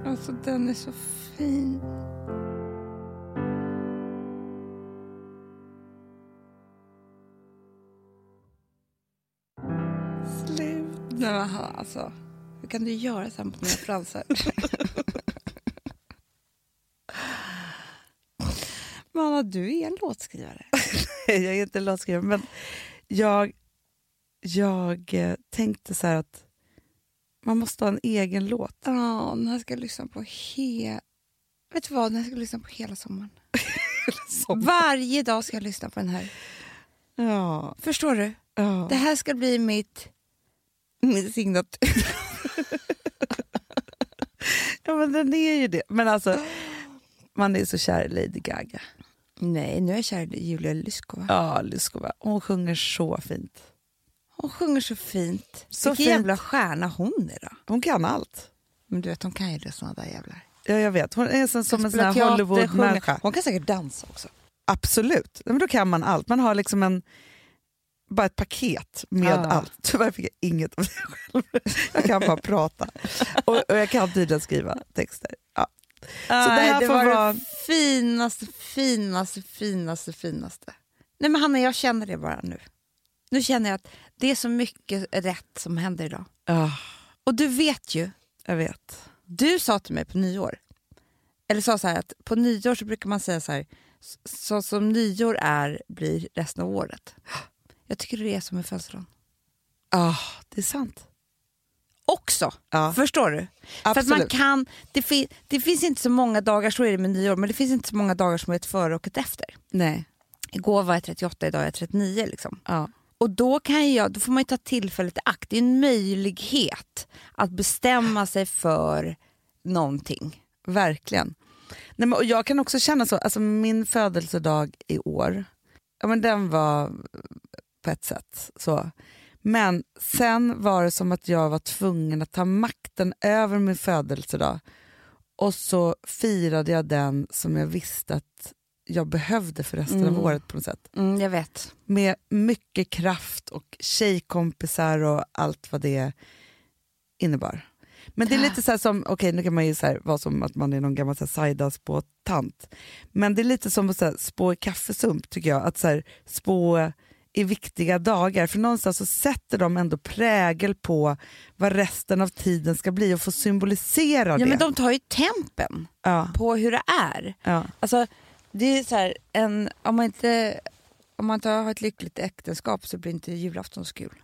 [SPEAKER 2] Alltså den är så fin. Slut. Nej men han, alltså. Hur kan du göra så här mot mina fransar? Manna, du är en låtskrivare.
[SPEAKER 1] jag är inte låtskrivare, men jag, jag eh, tänkte så här att man måste ha en egen låt.
[SPEAKER 2] Ja, den här ska jag lyssna på hela... Vet du vad? Den här ska jag lyssna på hela sommaren. Varje dag ska jag lyssna på den här.
[SPEAKER 1] Ja,
[SPEAKER 2] Förstår du?
[SPEAKER 1] ja.
[SPEAKER 2] Det här ska bli mitt... Min signatur.
[SPEAKER 1] ja, men den är ju det. Men alltså, man är så kär i Lady Gaga.
[SPEAKER 2] Nej, nu är jag kär i Julia Lyskova.
[SPEAKER 1] Ja, Lyskova. Hon sjunger så fint.
[SPEAKER 2] Hon sjunger så fint.
[SPEAKER 1] Så
[SPEAKER 2] Vilken
[SPEAKER 1] fint.
[SPEAKER 2] jävla stjärna hon är då.
[SPEAKER 1] Hon kan allt.
[SPEAKER 2] Men du vet, hon kan ju det såna där jävlar.
[SPEAKER 1] Ja, jag vet. Hon är som, som en sån
[SPEAKER 2] Spela
[SPEAKER 1] här
[SPEAKER 2] teater,
[SPEAKER 1] Hollywood-människa.
[SPEAKER 2] sjunger. Hon kan säkert dansa också.
[SPEAKER 1] Absolut. Ja, Men då kan man allt. Man har liksom en, bara ett paket med
[SPEAKER 2] Ja.
[SPEAKER 1] allt. Tyvärr fick jag inget av det själv. Jag kan bara prata. Och, och jag kan tydligen skriva texter. Ja.
[SPEAKER 2] Så det här får var
[SPEAKER 1] vara-
[SPEAKER 2] det finaste, finaste, finaste, finaste. Nej men Hanna, jag känner det bara nu. Nu känner jag att det är så mycket rätt som händer idag.
[SPEAKER 1] Ah,
[SPEAKER 2] Och du vet ju,
[SPEAKER 1] jag vet.
[SPEAKER 2] du sa till mig på nyår, eller sa så här att på nyår så brukar man säga så här, "S- så som nyår är blir resten av året. Jag tycker det är som en födelsedag.
[SPEAKER 1] Ah, det är sant.
[SPEAKER 2] också.
[SPEAKER 1] Ja.
[SPEAKER 2] Förstår du? För att man
[SPEAKER 1] Absolut.
[SPEAKER 2] kan, det, fin- det finns inte så många dagar, så är det med nyår, men det finns inte så många dagar som är ett före och ett efter.
[SPEAKER 1] Nej.
[SPEAKER 2] Igår var jag 38, idag är jag 39. Liksom.
[SPEAKER 1] Ja.
[SPEAKER 2] Och då, kan jag, då får man ju ta tillfället i akt. Det är en möjlighet att bestämma sig för någonting.
[SPEAKER 1] Verkligen. Nej, men, och jag kan också känna så, alltså min födelsedag i år, ja, men den var på ett sätt så. Men sen var det som att jag var tvungen att ta makten över min födelsedag och så firade jag den som jag visste att jag behövde för resten
[SPEAKER 2] Mm.
[SPEAKER 1] av året på något sätt.
[SPEAKER 2] Mm, jag vet.
[SPEAKER 1] Med mycket kraft och tjejkompisar och allt vad det innebar. Men
[SPEAKER 2] Ah.
[SPEAKER 1] det är lite så här som, okej nu kan man ju så här vara som att man är någon gammal så här saidas på tant. Men det är lite som att så här, spå i kaffesump tycker jag, att så här, spå i viktiga dagar. För någonstans så sätter de ändå prägel på vad resten av tiden ska bli och får symbolisera
[SPEAKER 2] Ja,
[SPEAKER 1] det.
[SPEAKER 2] men de tar ju tempen
[SPEAKER 1] ja,
[SPEAKER 2] på hur det är.
[SPEAKER 1] ja.
[SPEAKER 2] Alltså, det är så här, en, om man inte om man inte har ett lyckligt äktenskap så blir inte julafton så kul.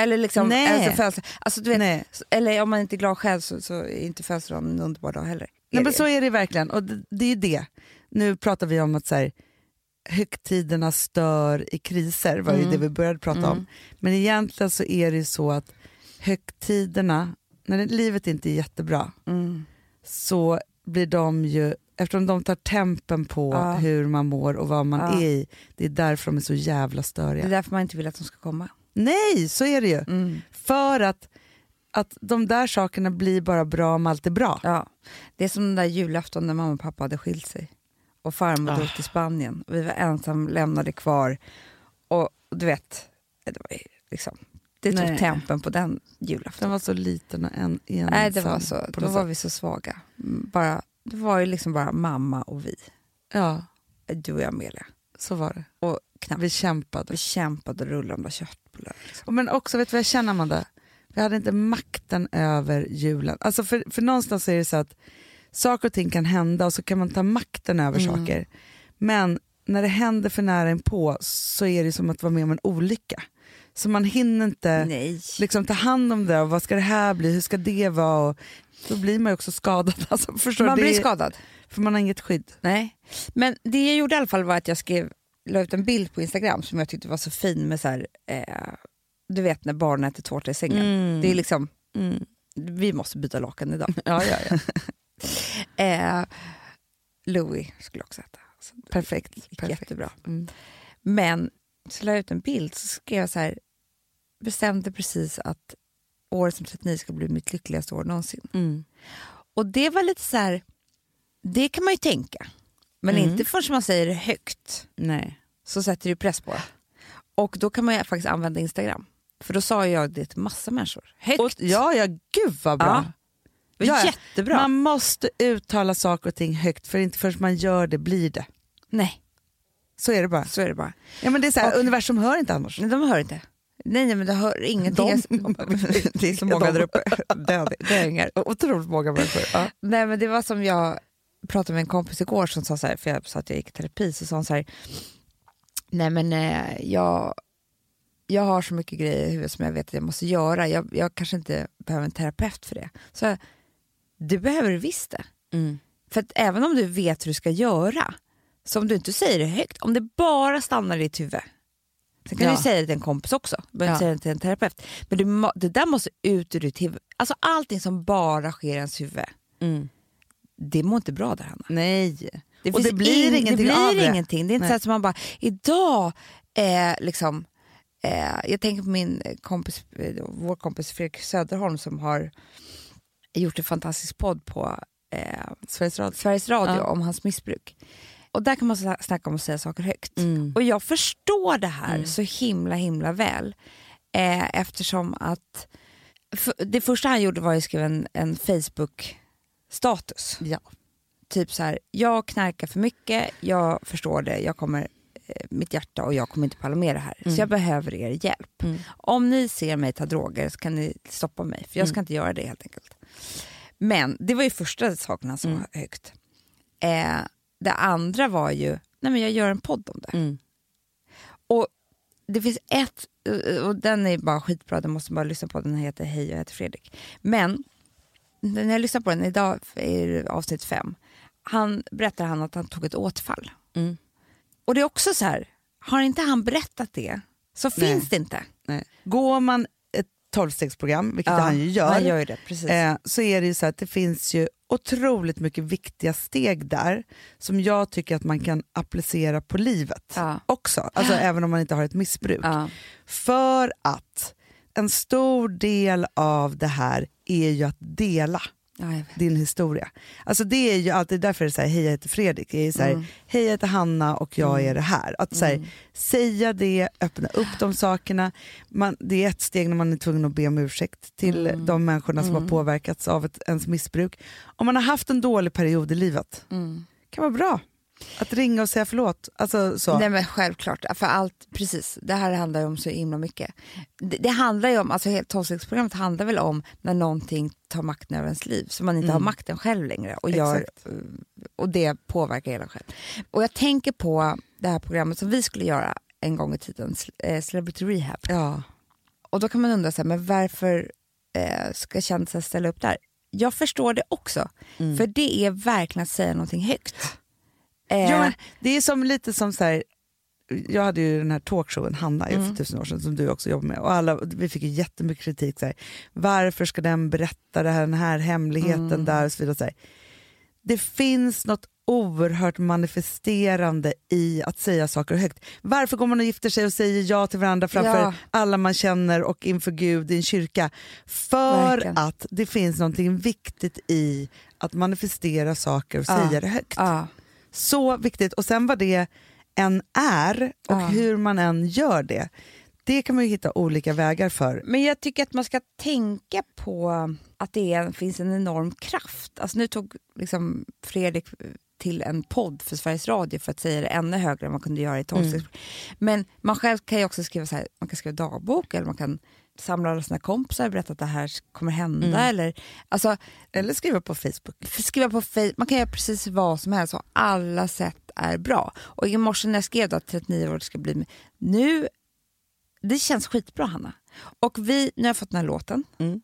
[SPEAKER 2] Eller liksom,
[SPEAKER 1] Nej.
[SPEAKER 2] alltså, födelsedag- alltså, du vet,
[SPEAKER 1] Nej.
[SPEAKER 2] s- eller om man inte är glad själv så, så är inte födelsedagen en underbar dag heller.
[SPEAKER 1] Nej,
[SPEAKER 2] Är
[SPEAKER 1] men
[SPEAKER 2] det.
[SPEAKER 1] så är det verkligen. Och det, det är det. Nu pratar vi om att så här, högtiderna stör i kriser, var ju
[SPEAKER 2] Mm.
[SPEAKER 1] det vi började prata om.
[SPEAKER 2] Mm.
[SPEAKER 1] Men egentligen så är det ju så att högtiderna, när det, livet inte är jättebra,
[SPEAKER 2] Mm.
[SPEAKER 1] så blir de ju, eftersom de tar tempen på
[SPEAKER 2] Ja.
[SPEAKER 1] hur man mår och vad man
[SPEAKER 2] Ja.
[SPEAKER 1] är i, det är därför de är så jävla
[SPEAKER 2] Det
[SPEAKER 1] störiga.
[SPEAKER 2] är därför man inte vill att de ska komma. Mm.
[SPEAKER 1] Nej, så är det ju. För att, att de där sakerna blir bara bra om allt är bra.
[SPEAKER 2] Ja. Det är som den där julafton när mamma och pappa hade skilt sig och
[SPEAKER 1] Ah.
[SPEAKER 2] farmor drog till Spanien och vi var ensam lämnade kvar. Och du vet, det, var ju liksom, det tog
[SPEAKER 1] Nej.
[SPEAKER 2] tempen på den
[SPEAKER 1] Den
[SPEAKER 2] julafton.
[SPEAKER 1] var så liten och en, ensam.
[SPEAKER 2] Nej, det var så.
[SPEAKER 1] på
[SPEAKER 2] Då
[SPEAKER 1] något
[SPEAKER 2] var vi så svaga. Mm, Bara, det var ju liksom bara mamma och vi,
[SPEAKER 1] Ja,
[SPEAKER 2] du och jag Amelia.
[SPEAKER 1] så var det.
[SPEAKER 2] Och knappt.
[SPEAKER 1] Vi kämpade.
[SPEAKER 2] Vi kämpade och rullade de där köttbullarna. Liksom.
[SPEAKER 1] Och Men också, vet du vad jag känner Amanda? Vi hade inte makten över julen. Alltså för, för någonstans är det så att saker och ting kan hända och så kan man ta makten över
[SPEAKER 2] Mm.
[SPEAKER 1] saker. Men när det händer för nära inpå så är det som att vara med om en olycka. Så man hinner inte
[SPEAKER 2] Nej.
[SPEAKER 1] liksom ta hand om det och vad ska det här bli, hur ska det vara? Och då blir man ju också skadad. Alltså, förstår
[SPEAKER 2] Man
[SPEAKER 1] du?
[SPEAKER 2] blir
[SPEAKER 1] Det är-
[SPEAKER 2] skadad.
[SPEAKER 1] För man har inget skydd.
[SPEAKER 2] Nej, men det jag gjorde i alla fall var att jag skrev, la ut en bild på Instagram som jag tyckte var så fin med så här, eh, du vet när barn äter tårta i sängen.
[SPEAKER 1] Mm.
[SPEAKER 2] Det är liksom,
[SPEAKER 1] Mm.
[SPEAKER 2] vi måste byta lakan idag.
[SPEAKER 1] Ja, ja, ja.
[SPEAKER 2] eh, Louis skulle också äta. Så det
[SPEAKER 1] Perfekt.
[SPEAKER 2] gick
[SPEAKER 1] perfekt.
[SPEAKER 2] Jättebra.
[SPEAKER 1] Mm.
[SPEAKER 2] Men så la jag ut en bild så skrev jag så här, bestämde precis att året som 39 ska bli mitt lyckligaste år någonsin.
[SPEAKER 1] Mm.
[SPEAKER 2] Och det var lite så här, det kan man ju tänka. Men
[SPEAKER 1] Mm.
[SPEAKER 2] inte förrän man säger det högt.
[SPEAKER 1] Nej.
[SPEAKER 2] så sätter du press på det. Och då kan man ju faktiskt använda Instagram. För då sa jag det till massa människor. Högt.
[SPEAKER 1] Och, ja, ja, gud vad bra.
[SPEAKER 2] Ja. Det var
[SPEAKER 1] ja, ja.
[SPEAKER 2] Jättebra.
[SPEAKER 1] Man måste uttala saker och ting högt för inte förrän man gör det blir det.
[SPEAKER 2] Nej,
[SPEAKER 1] Så är det bara.
[SPEAKER 2] så är det bara.
[SPEAKER 1] Ja, men det är så här,
[SPEAKER 2] Och-
[SPEAKER 1] universum hör inte annars.
[SPEAKER 2] Nej, de hör inte. Nej, nej men de hör ingenting.
[SPEAKER 1] De-
[SPEAKER 2] Jag- det är så många där uppe. Död- Döingar.
[SPEAKER 1] Otroligt många människor. Ja.
[SPEAKER 2] Nej men det var som jag pratade med en kompis igår som sa så här, för jag sa att jag gick i terapi, så sa hon så här, nej men eh, jag, jag har så mycket grejer i huvudet som jag vet att jag måste göra, jag, jag kanske inte behöver en terapeut för det. Så jag, du behöver du visst det. För att även om du vet hur du ska göra, så om du inte säger det högt, om det bara stannar i ditt huvud, sen kan
[SPEAKER 1] Ja.
[SPEAKER 2] du säga det till en kompis också, du
[SPEAKER 1] Ja.
[SPEAKER 2] behöver inte säga det till en terapeut, men du, må- det där måste ut ur ditt huvud. Alltså allting som bara sker i ens huvud, det mår inte bra där Hanna.
[SPEAKER 1] Nej.
[SPEAKER 2] Mm. Det,
[SPEAKER 1] Och
[SPEAKER 2] finns
[SPEAKER 1] det blir
[SPEAKER 2] ing-
[SPEAKER 1] ingenting
[SPEAKER 2] det blir
[SPEAKER 1] av det.
[SPEAKER 2] ingenting. Det är inte
[SPEAKER 1] Nej.
[SPEAKER 2] så att man bara, idag eh, liksom, eh, jag tänker på min kompis, eh, vår kompis Fredrik Söderholm som har gjort en fantastisk podd på eh, Sveriges Radio,
[SPEAKER 1] Ja.
[SPEAKER 2] om hans missbruk. Och där kan man sna- snacka om att säga saker högt.
[SPEAKER 1] Mm.
[SPEAKER 2] Och jag förstår det här
[SPEAKER 1] Mm.
[SPEAKER 2] så himla himla väl. Eh, eftersom att för, det första han gjorde var att skriva en, en Facebook-status.
[SPEAKER 1] Ja.
[SPEAKER 2] Typ så här, jag knarkar för mycket, jag förstår det, jag kommer, eh, mitt hjärta och jag kommer inte palla med det här.
[SPEAKER 1] Mm.
[SPEAKER 2] Så jag behöver er hjälp.
[SPEAKER 1] Mm.
[SPEAKER 2] Om ni ser mig ta droger så kan ni stoppa mig, för jag
[SPEAKER 1] Mm.
[SPEAKER 2] ska inte göra det helt enkelt. Men det var ju första saken han sa
[SPEAKER 1] Mm.
[SPEAKER 2] högt. Mm. Eh, det andra var ju, nej men jag gör en podd om det.
[SPEAKER 1] Mm.
[SPEAKER 2] Och det finns ett, eh, och den är bara skitbra, den måste man bara lyssna på. Den heter Hej, jag heter Fredrik. Men när jag lyssnar på den idag, är det avsnitt fem, han, berättar han att han tog ett återfall.
[SPEAKER 1] Mm.
[SPEAKER 2] Och det är också så här, har inte han berättat det så
[SPEAKER 1] Nej.
[SPEAKER 2] finns det inte.
[SPEAKER 1] Nej. Går man ett tolvstegsprogram, vilket
[SPEAKER 2] Ja,
[SPEAKER 1] han ju gör,
[SPEAKER 2] Han gör ju det, precis.
[SPEAKER 1] eh, så är det ju så att det finns ju otroligt mycket viktiga steg där som jag tycker att man kan applicera på livet
[SPEAKER 2] Ja.
[SPEAKER 1] också, alltså även om man inte har ett missbruk.
[SPEAKER 2] Ja.
[SPEAKER 1] För att en stor del av det här är ju att dela
[SPEAKER 2] Ja, jag vet.
[SPEAKER 1] din historia. Alltså det är ju alltid därför det är så här, hej jag heter Fredrik, det är så här, hej jag heter Hanna och jag är det här. Att så här, säga det, öppna upp de sakerna. Man, det är ett steg när man är tvungen att be om ursäkt till de människorna som har påverkats av ett, ens missbruk. Om man har haft en dålig period i livet,
[SPEAKER 2] Mm.
[SPEAKER 1] kan vara bra att ringa och säga förlåt. Alltså så.
[SPEAKER 2] Nej men självklart, för allt, precis, det här handlar ju om så himla mycket. Det, det handlar ju om, alltså hela tolvstegsprogrammet handlar väl om när någonting tar makten över ens liv, så man inte har makten själv längre och, gör,
[SPEAKER 1] Mm.
[SPEAKER 2] eh,
[SPEAKER 1] Exakt.
[SPEAKER 2] och det påverkar hela själv. Och jag tänker på det här programmet som vi skulle göra en gång i tiden, Ce- eh, Celebrity Rehab.
[SPEAKER 1] Ja.
[SPEAKER 2] Och då kan man undra så här, men varför eh, ska kändisar ställa upp där? Jag förstår det också, för det är verkligen att säga någonting högt. Eh,
[SPEAKER 1] Mm. Ja, men det är som lite som så här, jag hade ju den här talkshowen Hanna ju
[SPEAKER 2] Mm.
[SPEAKER 1] för tusen år sedan som du också jobbar med och alla, vi fick ju jättemycket kritik. Så här, varför ska den berätta det här, den här hemligheten
[SPEAKER 2] Mm.
[SPEAKER 1] där och så vidare. Så här. Det finns något oerhört manifesterande i att säga saker högt. Varför går man och gifter sig och säger ja till varandra framför
[SPEAKER 2] Ja.
[SPEAKER 1] alla man känner och inför Gud i en kyrka? För
[SPEAKER 2] Verkligen.
[SPEAKER 1] att det finns någonting viktigt i att manifestera saker och
[SPEAKER 2] Ja.
[SPEAKER 1] säga det högt.
[SPEAKER 2] ja.
[SPEAKER 1] Så viktigt. Och sen vad det än är och
[SPEAKER 2] Ja.
[SPEAKER 1] hur man än gör det, det kan man ju hitta olika vägar för.
[SPEAKER 2] Men jag tycker att man ska tänka på att det är, finns en enorm kraft. Alltså nu tog liksom Fredrik till en podd för Sveriges Radio för att säga det ännu högre än man kunde göra i tolvstegs. Men man själv kan ju också skriva så här, man kan skriva dagbok eller man kan samla alla sina kompisar och berätta att det här kommer hända. Eller, alltså,
[SPEAKER 1] Eller skriva på Facebook.
[SPEAKER 2] skriva på Facebook, man kan göra precis vad som helst och alla sätt är bra. Och i morse när jag skrev då att 39 år ska bli min- nu, det känns skitbra Hanna. Och vi, nu har jag fått den här låten,
[SPEAKER 1] Mm.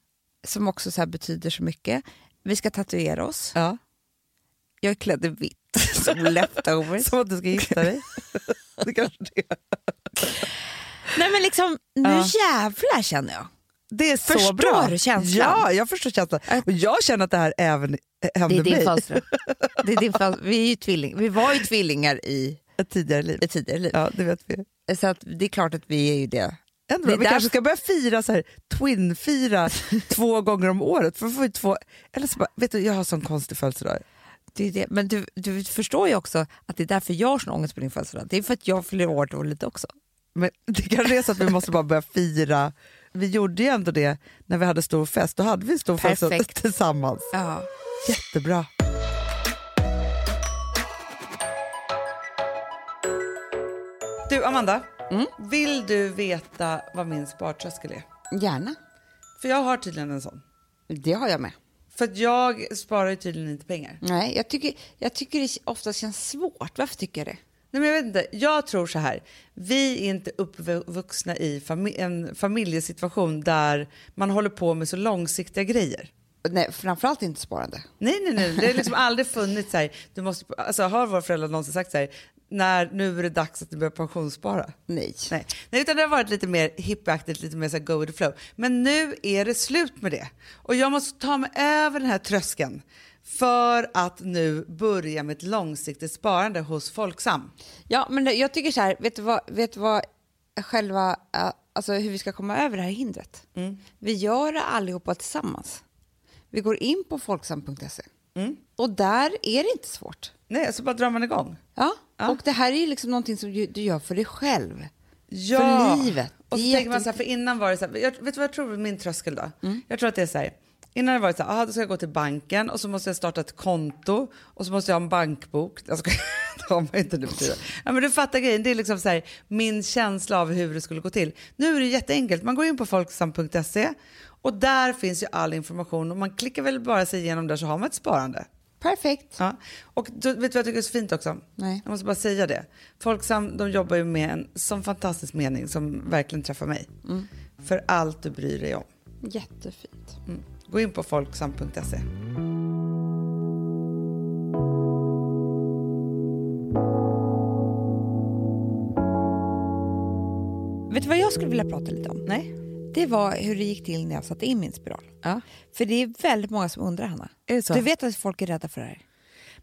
[SPEAKER 2] som också så här betyder så mycket. Vi ska tatuera oss,
[SPEAKER 1] Ja.
[SPEAKER 2] jag är klädd i vitt som leftovers.
[SPEAKER 1] Som att du ska gifta dig. det kanske det är.
[SPEAKER 2] Nej men liksom, nu
[SPEAKER 1] Ja.
[SPEAKER 2] jävlar känner jag.
[SPEAKER 1] Det är så
[SPEAKER 2] Förstår
[SPEAKER 1] bra.
[SPEAKER 2] du känslan?
[SPEAKER 1] Ja, jag förstår känslan.
[SPEAKER 2] Att-
[SPEAKER 1] Och jag känner att det här även hände mig
[SPEAKER 2] Fahlström. Det är din Fahlström. Vi, är ju tvilling. vi var ju tvillingar i
[SPEAKER 1] ett tidigare liv.
[SPEAKER 2] ett tidigare liv.
[SPEAKER 1] Ja, det vet vi.
[SPEAKER 2] Så att det är klart att vi är ju det.
[SPEAKER 1] Ändå,
[SPEAKER 2] Det är
[SPEAKER 1] vi
[SPEAKER 2] där-
[SPEAKER 1] kanske ska börja fira så här, twin-fira två gånger om året. För då får vi två... Eller så bara, vet du, jag har sån konstig födelsedag.
[SPEAKER 2] Det är det. Men du, du förstår ju också att det är därför jag har sån ångest på din födelsedag. Det är för att jag fyller år då lite också.
[SPEAKER 1] Men det kanske är så att vi måste bara börja fira. Vi gjorde ju ändå det när vi hade stor fest. Då hade vi en stor fest
[SPEAKER 2] Perfekt.
[SPEAKER 1] tillsammans.
[SPEAKER 2] Ja.
[SPEAKER 1] Jättebra. Du, Amanda. Vill du veta vad min spartröskel är?
[SPEAKER 2] Gärna.
[SPEAKER 1] För jag har tydligen en sån.
[SPEAKER 2] Det har jag med.
[SPEAKER 1] För att jag sparar ju tydligen inte pengar.
[SPEAKER 2] Nej, jag tycker, jag tycker det ofta känns svårt. Varför tycker jag det?
[SPEAKER 1] Nej, men jag vet inte. Jag tror så här. Vi är inte uppvuxna i fami- en familjesituation där man håller på med så långsiktiga grejer.
[SPEAKER 2] Nej, framförallt inte sparande.
[SPEAKER 1] Nej, nej, nej. Det har liksom aldrig funnits så här. Du måste, alltså, har våra föräldrar någonsin sagt så här, när, nu är det dags att du börjar pensionsspara?
[SPEAKER 2] Nej.
[SPEAKER 1] Nej. nej, utan det har varit lite mer hippieaktigt, lite mer så här go with the flow. Men nu är det slut med det. Och jag måste ta mig över den här tröskeln för att nu börja med ett långsiktigt sparande hos Folksam.
[SPEAKER 2] Ja, men det- jag tycker så här, vet du vad, vet du vad själva, eh, alltså hur vi ska komma över det här hindret? Vi gör det allihopa tillsammans. Vi går in på folksam.se E. och där är det inte svårt.
[SPEAKER 1] Nej, så bara drar man igång.
[SPEAKER 2] Ja.
[SPEAKER 1] Ja.
[SPEAKER 2] och det här är ju liksom någonting som du du gör för dig själv.
[SPEAKER 1] Ja.
[SPEAKER 2] För livet.
[SPEAKER 1] Och så
[SPEAKER 2] Det är
[SPEAKER 1] tänker man
[SPEAKER 2] jätte-
[SPEAKER 1] så här, för innan var det så här, jag, vet du vad jag tror är min tröskel då?
[SPEAKER 2] Mm.
[SPEAKER 1] Jag tror att det är så här, innan det var det så här, aha, då ska jag gå till banken och så måste jag starta ett konto och så måste jag ha en bankbok. Jag ska, det har man ju inte nu för tiden. ja, men Du fattar grejen, det är liksom så här, min känsla av hur det skulle gå till. Nu är det jätteenkelt, man går in på folksam.se och där finns ju all information och man klickar väl bara sig igenom där så har man ett sparande.
[SPEAKER 2] Perfekt.
[SPEAKER 1] Ja. Och då, vet du vad jag tycker är så fint också?
[SPEAKER 2] Nej.
[SPEAKER 1] Jag måste bara säga det. Folksam de jobbar ju med en sån fantastisk mening som verkligen träffar mig.
[SPEAKER 2] Mm.
[SPEAKER 1] För allt du bryr dig om.
[SPEAKER 2] Jättefint.
[SPEAKER 1] Gå in på folksam.se.
[SPEAKER 2] Vet du vad jag skulle vilja prata lite om?
[SPEAKER 1] Nej.
[SPEAKER 2] Det var hur det gick till när jag satte in min spiral.
[SPEAKER 1] Ja.
[SPEAKER 2] För det är väldigt många som undrar, Hanna.
[SPEAKER 1] Är det så?
[SPEAKER 2] Du vet att folk är rädda för det här?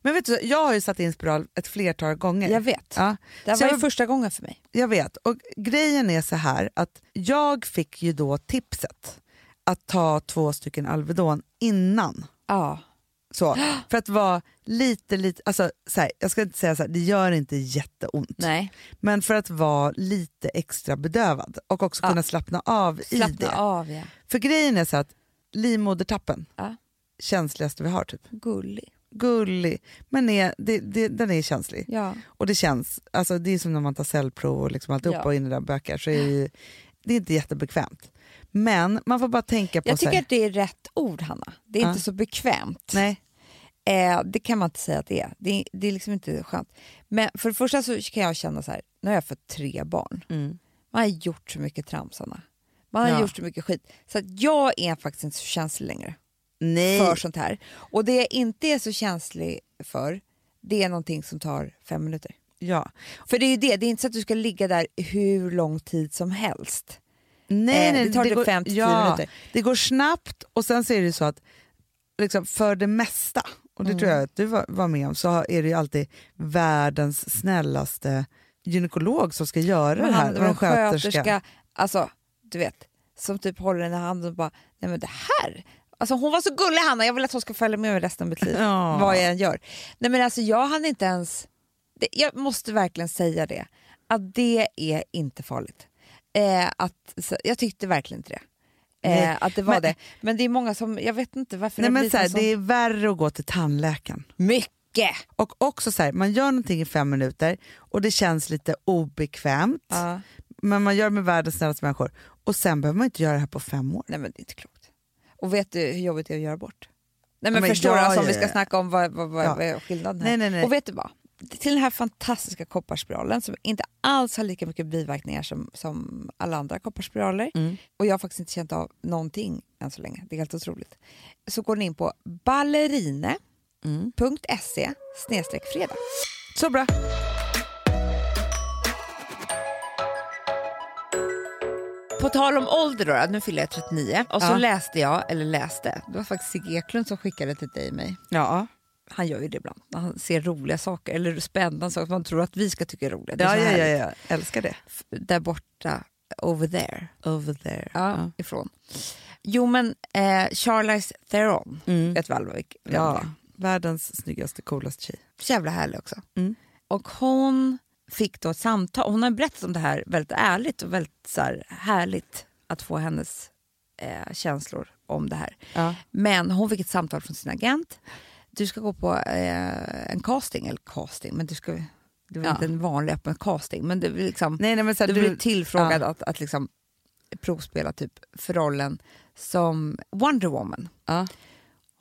[SPEAKER 1] Men vet du, jag har ju satt in spiral ett flertal gånger.
[SPEAKER 2] Jag vet.
[SPEAKER 1] Ja.
[SPEAKER 2] Det här
[SPEAKER 1] Så
[SPEAKER 2] var
[SPEAKER 1] jag-
[SPEAKER 2] ju första gången för mig.
[SPEAKER 1] Jag vet. Och grejen är så här att jag fick ju då tipset att ta två stycken Alvedon innan.
[SPEAKER 2] Ja.
[SPEAKER 1] Så, för att vara lite, lite, alltså så här, jag ska inte säga så här, det gör inte jätteont.
[SPEAKER 2] Nej.
[SPEAKER 1] Men för att vara lite extra bedövad och också
[SPEAKER 2] Ja.
[SPEAKER 1] kunna slappna av i
[SPEAKER 2] Slappna
[SPEAKER 1] det.
[SPEAKER 2] av, ja.
[SPEAKER 1] För grejen är så att livmodertappen,
[SPEAKER 2] Ja.
[SPEAKER 1] känsligaste vi har typ.
[SPEAKER 2] Gullig.
[SPEAKER 1] Gullig, men är, det, det, den är känslig.
[SPEAKER 2] Ja.
[SPEAKER 1] Och det känns, alltså det är som när man tar cellprov och liksom alltihop
[SPEAKER 2] Ja.
[SPEAKER 1] och in i den böcker så är det, ju, det är inte jättebekvämt. Men man får bara tänka på
[SPEAKER 2] Jag
[SPEAKER 1] så
[SPEAKER 2] tycker
[SPEAKER 1] här,
[SPEAKER 2] att det är rätt ord, Hanna. Det är
[SPEAKER 1] Ja.
[SPEAKER 2] inte så bekvämt.
[SPEAKER 1] nej,
[SPEAKER 2] Eh, det kan man inte säga att det är. Det, är- det är liksom inte skönt. Men för det första så kan jag känna så här, nu har jag fått tre barn. Man har gjort så mycket trams, Hanna. Man har
[SPEAKER 1] Mm. Ja.
[SPEAKER 2] gjort så mycket skit. Så att jag är faktiskt inte så känslig längre
[SPEAKER 1] nej.
[SPEAKER 2] för sånt här. Och det jag inte är så känslig för, det är någonting som tar fem minuter.
[SPEAKER 1] Ja.
[SPEAKER 2] För det är ju det, det är inte så att du ska ligga där hur lång tid som helst.
[SPEAKER 1] Nej,
[SPEAKER 2] Eh,
[SPEAKER 1] nej,
[SPEAKER 2] det tar typ fem till tio minuter.
[SPEAKER 1] Det går snabbt och sen så är det ju så att liksom, för det mesta, och det
[SPEAKER 2] Mm.
[SPEAKER 1] tror jag att du var, var med om, så har- är det ju alltid världens snällaste gynekolog som ska göra det här.
[SPEAKER 2] det
[SPEAKER 1] och
[SPEAKER 2] var
[SPEAKER 1] en
[SPEAKER 2] en sköterska, alltså du vet, som typ håller den i handen och bara, nej men det här. Alltså hon var så gullig Hanna, jag vill att hon ska följa med mig resten av mitt liv.
[SPEAKER 1] Ja.
[SPEAKER 2] Vad jag än gör. Nej men alltså jag hann inte ens, det, jag måste verkligen säga det, att det är inte farligt. Eh, att, så, jag tyckte verkligen inte det. Eh,
[SPEAKER 1] Nej,
[SPEAKER 2] att det var
[SPEAKER 1] men-
[SPEAKER 2] det. Men det är många som, jag vet inte varför
[SPEAKER 1] Nej,
[SPEAKER 2] det
[SPEAKER 1] men
[SPEAKER 2] blir
[SPEAKER 1] så här,
[SPEAKER 2] sån-
[SPEAKER 1] det är värre att gå till tandläkaren.
[SPEAKER 2] Mycket!
[SPEAKER 1] Och också så här, man gör någonting i fem minuter och det känns lite obekvämt.
[SPEAKER 2] Ja.
[SPEAKER 1] Men man gör det med världens snällaste människor. Och sen behöver man inte göra det här på fem år.
[SPEAKER 2] Nej men det är inte klokt. Och vet du hur jobbigt det är att göra bort? Nej men,
[SPEAKER 1] men
[SPEAKER 2] förstår du,
[SPEAKER 1] jag
[SPEAKER 2] alltså, om
[SPEAKER 1] gör
[SPEAKER 2] vi ska
[SPEAKER 1] det.
[SPEAKER 2] snacka om vad, vad, vad,
[SPEAKER 1] Ja.
[SPEAKER 2] vad är skillnaden här.
[SPEAKER 1] Nej, nej, nej.
[SPEAKER 2] Och vet du vad? Till den här fantastiska kopparspiralen som inte alls har lika mycket biverkningar som, som alla andra kopparspiraler och jag har faktiskt inte känt av någonting än så länge, det är helt otroligt. Så går ni in på Mm. ballerine.se snedstreck fredag.
[SPEAKER 1] Så bra.
[SPEAKER 2] På tal om ålder då, nu fyller jag 39 och så
[SPEAKER 1] Ja.
[SPEAKER 2] läste jag, eller läste, det var faktiskt Sigge Eklund som skickade till dig och mig.
[SPEAKER 1] Ja,
[SPEAKER 2] han gör ju det ibland när han ser roliga saker eller spännande saker som man tror att vi ska tycka är roliga. Det är
[SPEAKER 1] ja,
[SPEAKER 2] så
[SPEAKER 1] ja, ja,
[SPEAKER 2] härligt.
[SPEAKER 1] ja. Älskar det.
[SPEAKER 2] F- Där borta, over there,
[SPEAKER 1] Over there.
[SPEAKER 2] ja, ifrån. Jo men eh, Charlize Theron,
[SPEAKER 1] Mm.
[SPEAKER 2] vet väl vilk- vem det
[SPEAKER 1] Ja,
[SPEAKER 2] är?
[SPEAKER 1] världens snyggaste, coolaste tjej.
[SPEAKER 2] Så jävla härlig också.
[SPEAKER 1] Mm.
[SPEAKER 2] Och hon fick då ett samtal, hon har berättat om det här väldigt ärligt och väldigt så här, härligt att få hennes eh, känslor om det här.
[SPEAKER 1] Ja.
[SPEAKER 2] Men hon fick ett samtal från sin agent. Du ska gå på eh, en casting, eller casting, men du ska, det var
[SPEAKER 1] Ja.
[SPEAKER 2] inte en vanlig öppen casting, men det var liksom,
[SPEAKER 1] Nej, nej, men så här,
[SPEAKER 2] du,
[SPEAKER 1] du,
[SPEAKER 2] blev tillfrågad att, att liksom provspela typ för rollen som Wonder Woman.
[SPEAKER 1] Ja.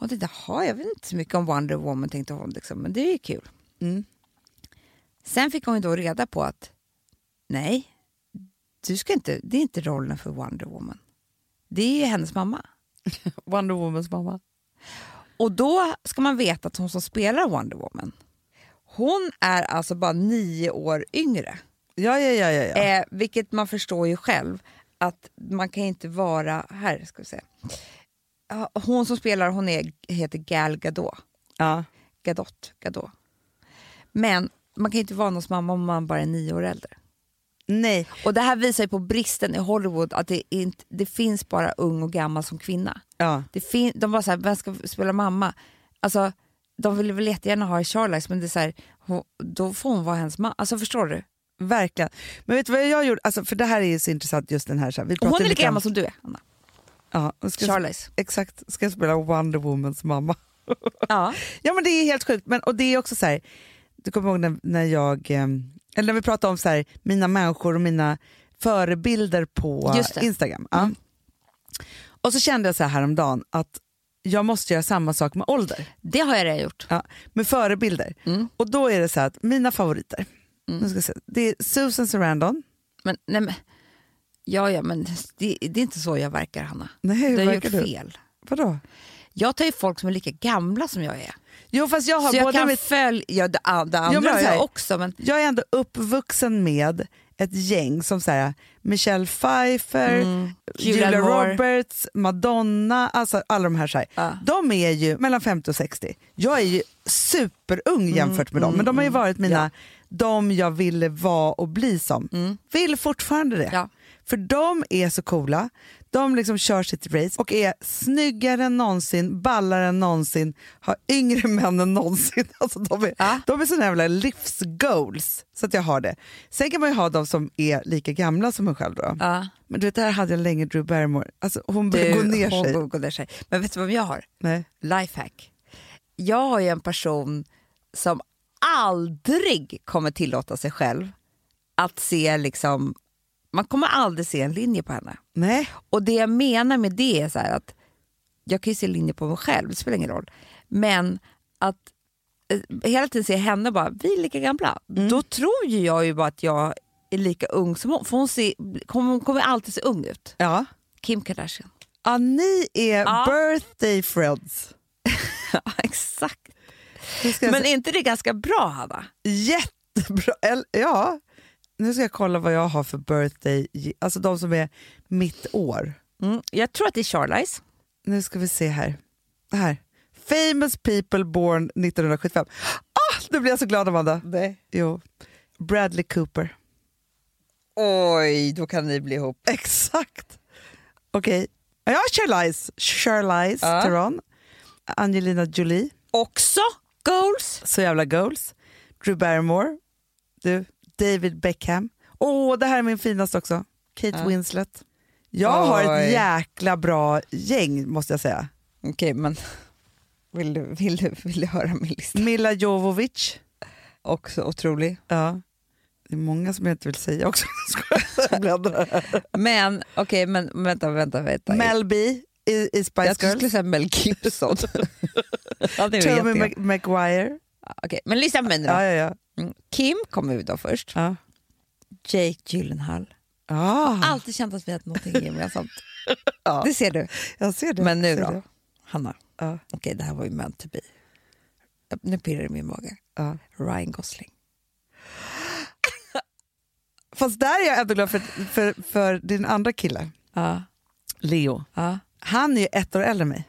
[SPEAKER 2] Och det där, "Jaha, jag vet inte så mycket om Wonder Woman tänkte hon, liksom, men det är ju kul.
[SPEAKER 1] Mm.
[SPEAKER 2] Sen fick hon ju då reda på att nej, du ska inte, det är inte rollen för Wonder Woman. Det är ju hennes mamma.
[SPEAKER 1] Wonder Womans mamma.
[SPEAKER 2] Och då ska man veta att hon som spelar Wonder Woman, hon är alltså bara nio år yngre.
[SPEAKER 1] Ja, ja, ja. ja, ja.
[SPEAKER 2] Eh, vilket man förstår ju själv att man kan inte vara... Här ska vi se. Ja, Hon som spelar hon är, heter Gal Gadot.
[SPEAKER 1] ja.
[SPEAKER 2] Gadot, Gadot. Men man kan ju inte vara någons mamma om man bara är nio år äldre.
[SPEAKER 1] Nej,
[SPEAKER 2] Och Det här visar ju på bristen i Hollywood, att det, är inte, det finns bara ung och gammal som kvinna.
[SPEAKER 1] ja.
[SPEAKER 2] Det fin- de bara såhär, vem ska spela mamma? Alltså, de ville väl jättegärna ha Charlize men det är såhär, hon- då får hon vara hennes mamma. Alltså förstår du?
[SPEAKER 1] verkligen. Men vet du vad jag gjorde? Alltså, för det här är ju så intressant just den här. Så här. Vi
[SPEAKER 2] Och hon
[SPEAKER 1] pratade
[SPEAKER 2] är lika
[SPEAKER 1] lite om-
[SPEAKER 2] gammal som du är, Anna.
[SPEAKER 1] Ja, och ska,
[SPEAKER 2] Charlize.
[SPEAKER 1] Exakt, ska jag spela Wonder Womans mamma.
[SPEAKER 2] Ja.
[SPEAKER 1] Ja men det är helt sjukt, men, och det är också så här, du kommer ihåg när, när jag, eh, eller när vi pratade om så här, mina människor och mina förebilder på
[SPEAKER 2] Just det. Mm.
[SPEAKER 1] Instagram. Ja. Och så kände jag så här häromdagen att jag måste göra samma sak med ålder.
[SPEAKER 2] Det har jag redan gjort.
[SPEAKER 1] Ja, med förebilder. Och då är det så här att mina favoriter,
[SPEAKER 2] Mm.
[SPEAKER 1] nu ska jag se, det är Susan Sarandon.
[SPEAKER 2] Men, nej, men, ja, ja, men det, det är inte så jag verkar, Hanna.
[SPEAKER 1] Nej, hur
[SPEAKER 2] du har
[SPEAKER 1] verkar
[SPEAKER 2] gjort
[SPEAKER 1] du?
[SPEAKER 2] fel.
[SPEAKER 1] Vadå?
[SPEAKER 2] Jag tar ju folk som är lika gamla som jag är.
[SPEAKER 1] Jo fast jag har
[SPEAKER 2] så jag
[SPEAKER 1] både
[SPEAKER 2] kan
[SPEAKER 1] mitt,
[SPEAKER 2] följa... Ja, det, ah, det andra
[SPEAKER 1] men
[SPEAKER 2] har
[SPEAKER 1] så här-
[SPEAKER 2] jag också, men
[SPEAKER 1] jag är ändå uppvuxen med ett gäng som så här, Michelle Pfeiffer, Julia,
[SPEAKER 2] Julia Mm. Moore.
[SPEAKER 1] Roberts, Madonna, alltså alla de här. Så här.
[SPEAKER 2] Ja.
[SPEAKER 1] De är ju mellan 50 och 60. Jag är ju superung
[SPEAKER 2] Mm,
[SPEAKER 1] jämfört med dem, men de har ju varit mina, de jag ville vara och bli som. Vill fortfarande det.
[SPEAKER 2] Mm. Ja.
[SPEAKER 1] För de är så coola, de liksom kör sitt race och är snyggare än någonsin, ballare än någonsin, har yngre män än någonsin. Alltså de, är,
[SPEAKER 2] Ja.
[SPEAKER 1] de är såna jävla livsgoals, så att jag har det. Sen kan man ju ha de som är lika gamla som en själv då.
[SPEAKER 2] Ja.
[SPEAKER 1] Men du vet, där hade jag länge Drew Barrymore. Alltså, hon började
[SPEAKER 2] du,
[SPEAKER 1] gå ner
[SPEAKER 2] hon
[SPEAKER 1] sig.
[SPEAKER 2] går- går ner sig. Men vet du vem jag har?
[SPEAKER 1] Nej.
[SPEAKER 2] Lifehack. Jag har ju en person som aldrig kommer tillåta sig själv att se liksom... Man kommer aldrig se en linje på henne.
[SPEAKER 1] Nej.
[SPEAKER 2] Och det jag menar med det är så här att jag kan ju se linjer på mig själv, det spelar ingen roll. Men att eh, hela tiden se henne och bara, vi är lika gamla.
[SPEAKER 3] Mm.
[SPEAKER 2] Då tror ju jag ju bara att jag är lika ung som hon. För hon, ser, hon kommer alltid se ung ut.
[SPEAKER 1] Ja.
[SPEAKER 2] Kim Kardashian.
[SPEAKER 1] ja, ni är
[SPEAKER 2] Ja.
[SPEAKER 1] birthday friends.
[SPEAKER 2] Ja, exakt.
[SPEAKER 1] Nu ska jag
[SPEAKER 2] Men är inte det ganska bra, Hanna?
[SPEAKER 1] Jättebra. Eller, ja. Nu ska jag kolla vad jag har för birthday, alltså de som är mitt år.
[SPEAKER 2] Mm. Jag tror att det är Charlize.
[SPEAKER 1] Nu ska vi se här. Det här. Famous people born 1975. Ah, nu blir jag så glad Amanda.
[SPEAKER 2] Nej.
[SPEAKER 1] Jo. Bradley Cooper.
[SPEAKER 3] Oj, då kan ni bli ihop.
[SPEAKER 1] Exakt. Okej. Ja, Charlize. Charlize
[SPEAKER 3] Ja.
[SPEAKER 1] Theron. Angelina Jolie.
[SPEAKER 2] Också goals.
[SPEAKER 1] Så jävla goals. Drew Barrymore. Du. David Beckham. Åh, det här är min finaste också. Kate Winslet. Jag har
[SPEAKER 3] Oj.
[SPEAKER 1] ett jäkla bra gäng måste jag säga.
[SPEAKER 3] Okej, men vill du, vill, du, vill du höra min lista?
[SPEAKER 1] Milla Jovovich.
[SPEAKER 3] Också otrolig.
[SPEAKER 1] Ja. Det är många som jag inte vill säga också. Jag bläddrar.
[SPEAKER 2] Men okej, men vänta, vänta, vänta.
[SPEAKER 1] Mel B i, i Spice
[SPEAKER 2] jag trodde du
[SPEAKER 1] Girls.
[SPEAKER 2] skulle säga Mel Gibson. ja, det vet
[SPEAKER 1] Tommy
[SPEAKER 2] jag.
[SPEAKER 1] Mac- Maguire.
[SPEAKER 2] Okej, men lyssna på mig nu då.
[SPEAKER 1] Ja, ja, ja.
[SPEAKER 2] Mm. Kim kommer vi då först.
[SPEAKER 1] ja.
[SPEAKER 2] Jake Gyllenhaal.
[SPEAKER 1] Ah,
[SPEAKER 2] Alltid känt att vi hade någonting gemensamt. Det ser du.
[SPEAKER 1] jag ser det.
[SPEAKER 2] Men nu
[SPEAKER 1] jag ser
[SPEAKER 2] då,
[SPEAKER 1] det.
[SPEAKER 2] Hanna.
[SPEAKER 1] Ja.
[SPEAKER 2] Okej, det här var ju meant to be. Nu pirrar det i min mage.
[SPEAKER 1] Ja.
[SPEAKER 2] Ryan Gosling.
[SPEAKER 1] Fast där är jag ändå glad för, för, för din andra kille,
[SPEAKER 2] Ja,
[SPEAKER 1] Leo.
[SPEAKER 2] ja.
[SPEAKER 1] Han är ju ett år äldre än mig.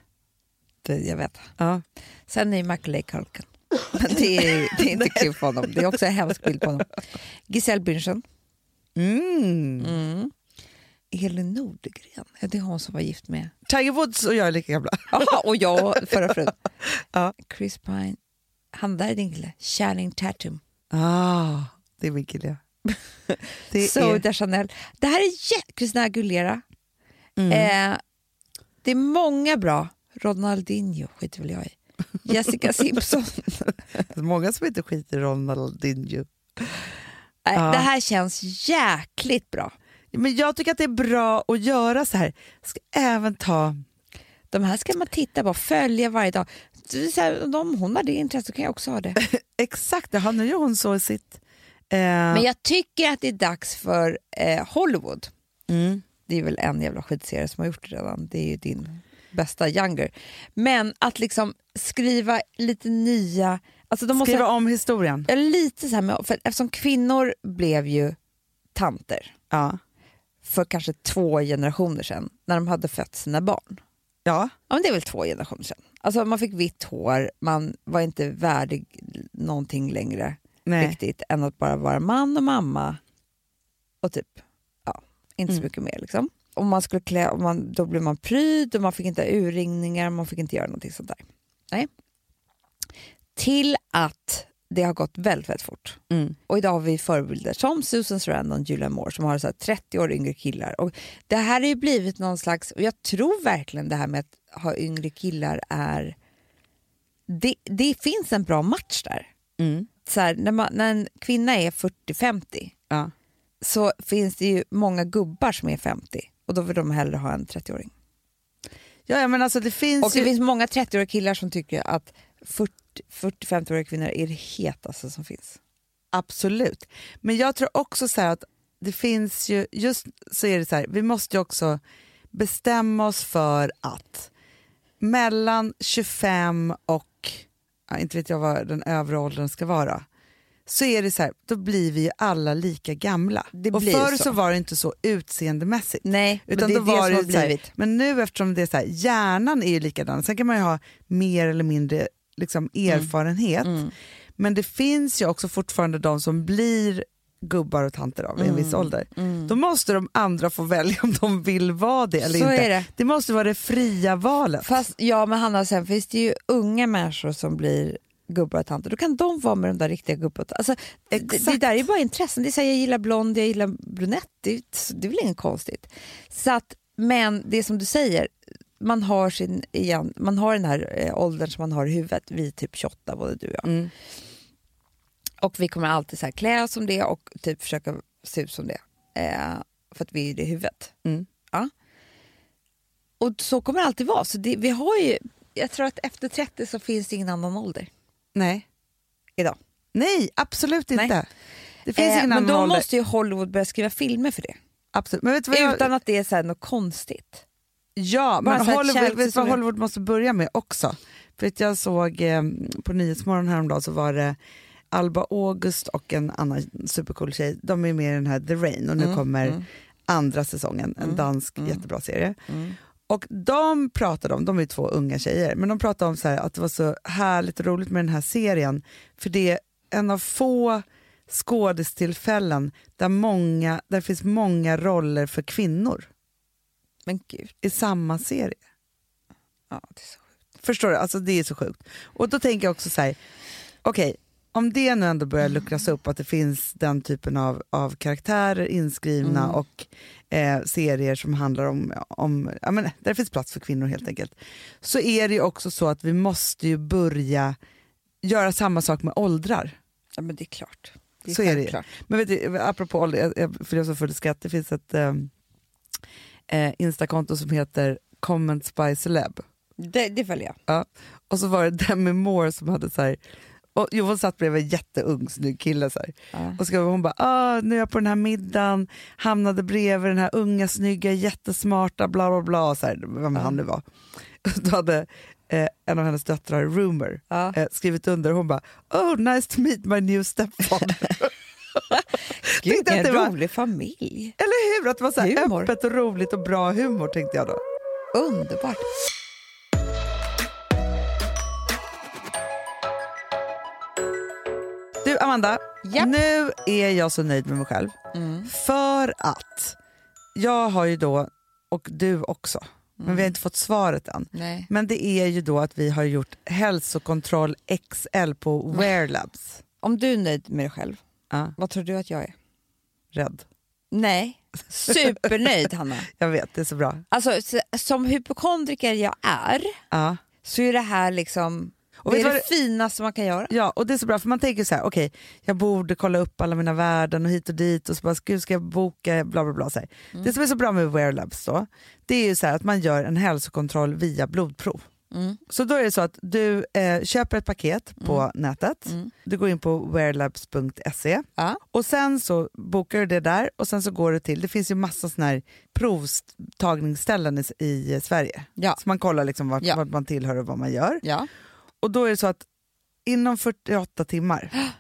[SPEAKER 2] Det, jag vet.
[SPEAKER 1] Ja.
[SPEAKER 2] Sen är ju Michael Lake Hulken. Men det är, det är inte kul för honom. Det är också en hemsk bild på honom. Giselle Bündchen.
[SPEAKER 1] Mm.
[SPEAKER 2] Elin Nordgren. Ja, det är hon som var gift med...
[SPEAKER 1] Tiger Woods och jag är lika gamla.
[SPEAKER 2] Aha, och jag och förra frun. Chris Pine. Han där är din kille. Channing Tatum.
[SPEAKER 1] Ah, det är min kille. ja. Det är,
[SPEAKER 2] Soda Chanel. Det här är jä- Christina Aguilera. Eh, det är många bra. Ronaldinho skiter väl jag i. Jessica Simpson.
[SPEAKER 1] det är många som inte skiter i Ronaldinho.
[SPEAKER 2] Nej,
[SPEAKER 1] Ja.
[SPEAKER 2] Det här känns jäkligt bra.
[SPEAKER 1] Men jag tycker att det är bra att göra så här. Ska även ta...
[SPEAKER 2] De här ska man titta på, följa varje dag. Så det är så här, om hon har det intresset så kan jag också ha det.
[SPEAKER 1] Exakt, ja, nu gör hon så i sitt... Eh,
[SPEAKER 2] Men jag tycker att det är dags för eh, Hollywood.
[SPEAKER 1] mm.
[SPEAKER 2] det är väl en jävla skitserie som har gjort det redan. Det är ju din bästa younger. Men att liksom skriva lite nya... Alltså de
[SPEAKER 1] Skriva
[SPEAKER 2] måste,
[SPEAKER 1] om historien.
[SPEAKER 2] Ja, lite så här med, för eftersom kvinnor blev ju tanter
[SPEAKER 1] Ja.
[SPEAKER 2] för kanske två generationer sedan när de hade fött sina barn.
[SPEAKER 1] ja.
[SPEAKER 2] Ja, men det är väl två generationer sedan. Alltså man fick vitt hår, man var inte värdig någonting längre
[SPEAKER 1] Nej.
[SPEAKER 2] riktigt än att bara vara man och mamma och typ, ja, inte så mycket mer liksom. Om man skulle klä, om man, då blev man pryd och man fick inte ha urringningar, man fick inte göra någonting sånt där. Nej. Till att det har gått väldigt, väldigt fort.
[SPEAKER 1] Mm.
[SPEAKER 2] Och idag har vi förebilder som Susan Sarandon och Julian Moore som har så här 30 år yngre killar. Och det här har ju blivit någon slags, och jag tror verkligen det här med att ha yngre killar är... Det, det finns en bra match där.
[SPEAKER 1] Mm.
[SPEAKER 2] Så här, när, man, när en kvinna är 40-50
[SPEAKER 1] Ja.
[SPEAKER 2] så finns det ju många gubbar som är 50 och då vill de hellre ha en 30-åring.
[SPEAKER 1] Ja, ja, men alltså det finns
[SPEAKER 2] Och det
[SPEAKER 1] ju...
[SPEAKER 2] finns många 30-åriga killar som tycker att 40 40-50-åriga kvinnor är det hetaste som finns.
[SPEAKER 1] Absolut. Men jag tror också så här att det finns ju, just så är det så här, vi måste ju också bestämma oss för att mellan 25 och, ja, inte vet jag vad den övre åldern ska vara, så är det så här, då blir vi ju alla lika gamla.
[SPEAKER 2] Det
[SPEAKER 1] och
[SPEAKER 2] blir
[SPEAKER 1] förr så.
[SPEAKER 2] så
[SPEAKER 1] var det inte så utseendemässigt.
[SPEAKER 2] Nej,
[SPEAKER 1] Utan
[SPEAKER 2] men det är
[SPEAKER 1] då var
[SPEAKER 2] det som
[SPEAKER 1] det
[SPEAKER 2] har
[SPEAKER 1] ju så här,
[SPEAKER 2] blivit.
[SPEAKER 1] Men nu eftersom det är så här, hjärnan är ju likadan, sen kan man ju ha mer eller mindre liksom,
[SPEAKER 2] Mm.
[SPEAKER 1] erfarenhet. Men det finns ju också fortfarande de som blir gubbar och tanter av en
[SPEAKER 2] Mm.
[SPEAKER 1] viss ålder. Då måste de andra få välja om de vill vara det eller
[SPEAKER 2] Så
[SPEAKER 1] inte.
[SPEAKER 2] är det.
[SPEAKER 1] det måste vara det fria valet.
[SPEAKER 2] Fast ja, men Hanna, sen finns det ju unga människor som blir gubbar och tanter. Då kan de vara med de där riktiga gubbarna. Alltså, det, det
[SPEAKER 1] Exakt.
[SPEAKER 2] där är bara intressen. Det är så här, jag gillar blond, jag gillar brunett. Det, är- det är väl inget konstigt. Så att, men det är som du säger, man har, sin, igen, man har den här eh, åldern som man har i huvudet. Vi är typ 28, både du och jag.
[SPEAKER 1] Mm.
[SPEAKER 2] Och vi kommer alltid så här, klä oss som det och typ försöka se ut som det. Eh, för att vi är ju det i huvudet.
[SPEAKER 1] Mm.
[SPEAKER 2] Ja. Och så kommer det alltid vara. Så det, vi har ju, jag tror att efter 30 så finns det ingen annan ålder
[SPEAKER 1] Nej.
[SPEAKER 2] idag.
[SPEAKER 1] Nej, absolut
[SPEAKER 2] Nej. Eh,
[SPEAKER 1] inte. Det finns ingen
[SPEAKER 2] men
[SPEAKER 1] annan
[SPEAKER 2] då
[SPEAKER 1] ålder.
[SPEAKER 2] måste ju Hollywood börja skriva filmer för det.
[SPEAKER 1] Absolut. Men vet du vad jag...
[SPEAKER 2] Utan att det är så här något konstigt.
[SPEAKER 1] Ja,
[SPEAKER 2] Bara
[SPEAKER 1] men
[SPEAKER 2] så här
[SPEAKER 1] Hollywood,
[SPEAKER 2] Chelsea
[SPEAKER 1] vet du
[SPEAKER 2] som
[SPEAKER 1] vad
[SPEAKER 2] är-
[SPEAKER 1] Hollywood måste börja med också? För att jag såg eh, på Nyhetsmorgon häromdagen så var det Alba August och en annan supercool tjej, de är med i den här The Rain och nu
[SPEAKER 2] Mm,
[SPEAKER 1] kommer andra säsongen, en dansk jättebra serie.
[SPEAKER 2] mm.
[SPEAKER 1] Och de pratade om, de är ju två unga tjejer, men de pratade om så här att det var så härligt och roligt med den här serien för det är en av få skådestillfällen där, många, där finns många roller för kvinnor
[SPEAKER 2] Men gud,
[SPEAKER 1] i samma serie.
[SPEAKER 2] ja, det är så sjukt.
[SPEAKER 1] Förstår du? Alltså det är så sjukt. Och då tänker jag också så här, okej, om det nu ändå börjar luckras upp, att det finns den typen av, av karaktärer inskrivna och eh, serier som handlar om, om ja, men, där finns plats för kvinnor helt enkelt, så är det ju också så att vi måste ju börja göra samma sak med åldrar.
[SPEAKER 2] Ja, men det är klart. Det är
[SPEAKER 1] Så är det ju.
[SPEAKER 2] självklart.
[SPEAKER 1] Men vet du, apropå ålder, jag, jag, för jag är så full i skratt, det finns ett eh, eh, instakonto som heter Comments by Celeb.
[SPEAKER 2] Det, det följer jag.
[SPEAKER 1] Ja. Och så var det Demi Moore som hade så här, och jo, hon satt bredvid en jätteung snygg kille så här.
[SPEAKER 2] Ja.
[SPEAKER 1] och så hon bara ah, nu är jag på den här middagen, hamnade bredvid den här unga snygga jättesmarta bla bla bla, så här, vem han nu var. Då hade eh, en av hennes döttrar, Rumor,
[SPEAKER 2] Ja.
[SPEAKER 1] eh, skrivit under hon bara oh nice to meet my new stepfather.
[SPEAKER 2] Gud,
[SPEAKER 1] Tänkte att det
[SPEAKER 2] vilken
[SPEAKER 1] var-
[SPEAKER 2] rolig familj.
[SPEAKER 1] Eller hur? Att det var så här
[SPEAKER 2] Humor.
[SPEAKER 1] öppet och roligt och bra humor tänkte jag då.
[SPEAKER 2] Underbart.
[SPEAKER 1] Du Amanda,
[SPEAKER 2] Japp.
[SPEAKER 1] nu är jag så nöjd med mig själv. För att jag har ju då, och du också, men vi har inte fått svaret än.
[SPEAKER 2] Nej.
[SPEAKER 1] Men det är ju då att vi har gjort hälsokontroll XL på Wear Labs.
[SPEAKER 2] Om du är nöjd med dig själv,
[SPEAKER 1] Ja,
[SPEAKER 2] vad tror du att jag är?
[SPEAKER 1] rädd.
[SPEAKER 2] Nej, supernöjd Hanna.
[SPEAKER 1] Jag vet, det är så bra.
[SPEAKER 2] Alltså, s- som hypokondriker jag är
[SPEAKER 1] Ja.
[SPEAKER 2] så är det här liksom
[SPEAKER 1] Och
[SPEAKER 2] det,
[SPEAKER 1] vet
[SPEAKER 2] är
[SPEAKER 1] du
[SPEAKER 2] det,
[SPEAKER 1] vad
[SPEAKER 2] finaste man kan göra.
[SPEAKER 1] Ja, och det är så bra för man tänker så här, okej, jag borde kolla upp alla mina värden och hit och dit och så bara, gud ska jag boka bla bla bla. Så här.
[SPEAKER 2] Mm.
[SPEAKER 1] Det som är så bra med Wear Labs då, det är ju så här att man gör en hälsokontroll via blodprov.
[SPEAKER 2] Mm.
[SPEAKER 1] Så då är det så att du eh, köper ett paket på nätet, du går in på wearlabs.se
[SPEAKER 2] Mm. Ja.
[SPEAKER 1] och sen så bokar du det där och sen så går du till, det finns ju massa sådana här provtagningsställen i, i Sverige.
[SPEAKER 2] Ja.
[SPEAKER 1] Så man kollar liksom vart,
[SPEAKER 2] Ja.
[SPEAKER 1] vart man tillhör och vad man gör.
[SPEAKER 2] Ja.
[SPEAKER 1] Och då är det så att inom 48 timmar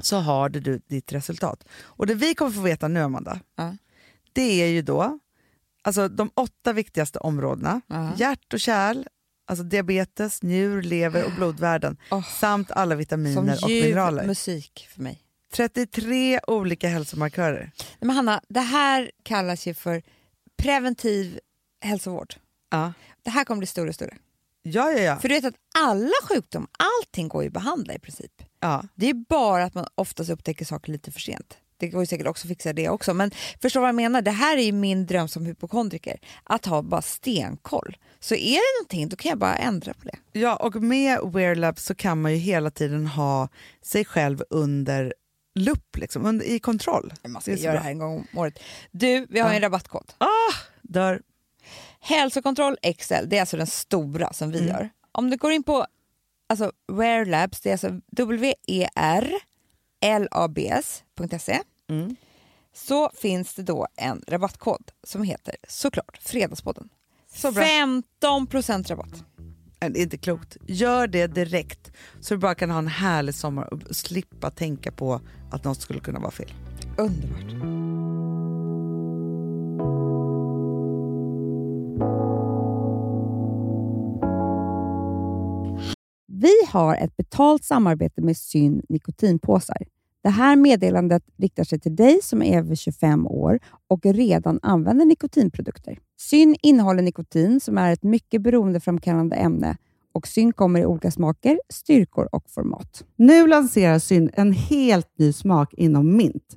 [SPEAKER 1] så har du du ditt resultat. Och det vi kommer få veta nu, Amanda,
[SPEAKER 2] Ja.
[SPEAKER 1] det är ju då alltså de åtta viktigaste områdena.
[SPEAKER 2] Ja.
[SPEAKER 1] Hjärt och kärl, alltså diabetes, njur, lever och blodvärden.
[SPEAKER 2] Åh.
[SPEAKER 1] Samt alla
[SPEAKER 2] Som
[SPEAKER 1] vitaminer och
[SPEAKER 2] ljuv
[SPEAKER 1] mineraler.
[SPEAKER 2] musik för mig.
[SPEAKER 1] 33 olika hälsomarkörer.
[SPEAKER 2] Nej, Men Hanna, det här kallas ju för preventiv hälsovård.
[SPEAKER 1] Ja,
[SPEAKER 2] Det här kommer bli större och större.
[SPEAKER 1] ja, ja. ja.
[SPEAKER 2] För du vet att alla sjukdomar, allting går ju att behandla i princip.
[SPEAKER 1] ja.
[SPEAKER 2] Det är bara att man oftast upptäcker saker lite för sent. Det går ju säkert också att fixa det också. Men förstår vad jag menar? Det här är ju min dröm som hypokondriker. Att ha bara stenkoll. Så är det någonting, då kan jag bara ändra på det.
[SPEAKER 1] Ja, och med Wearlab så kan man ju hela tiden ha sig själv under lupp, liksom, under, i kontroll.
[SPEAKER 2] Man ska
[SPEAKER 1] Det är så
[SPEAKER 2] göra
[SPEAKER 1] bra.
[SPEAKER 2] det här en gång om året. Du, vi har ju en rabattkod.
[SPEAKER 1] Dör.
[SPEAKER 2] Hälsokontroll XL, det är alltså den stora som vi
[SPEAKER 1] Mm.
[SPEAKER 2] gör. Om du går in på alltså, Wear Labs, det är alltså W-E-R-L-A-B-S.se E.
[SPEAKER 1] Mm.
[SPEAKER 2] så finns det då en rabattkod som heter såklart Fredagspodden.
[SPEAKER 1] Så bra.
[SPEAKER 2] 15% rabatt.
[SPEAKER 1] Nej, Äh, Det är inte klokt. Gör det direkt så du bara kan ha en härlig sommar och slippa tänka på att något skulle kunna vara fel.
[SPEAKER 2] Underbart. Vi har ett betalt samarbete med Syn nikotinpåsar. Det här meddelandet riktar sig till dig som är över 25 år och redan använder nikotinprodukter. Syn innehåller nikotin som är ett mycket beroendeframkallande ämne och Syn kommer i olika smaker, styrkor och format.
[SPEAKER 1] Nu lanserar Syn en helt ny smak inom mint.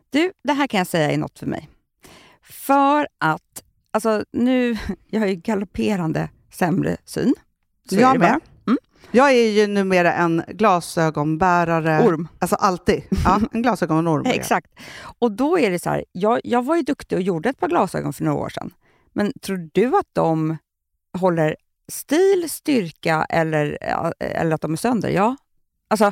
[SPEAKER 2] Du, det här kan jag säga är något för mig. För att, alltså nu, jag har ju galopperande sämre syn. Så är
[SPEAKER 1] jag
[SPEAKER 2] det Mm. bara.
[SPEAKER 1] med. Jag är ju numera en glasögonbärare.
[SPEAKER 2] Orm.
[SPEAKER 1] Alltså alltid. Ja, en glasögonorm. är jag.
[SPEAKER 2] Exakt. Och då är det så här, jag, jag var ju duktig och gjorde ett par glasögon för några år sedan. Men tror du att de håller stil, styrka eller, eller att de är sönder? Ja. Alltså,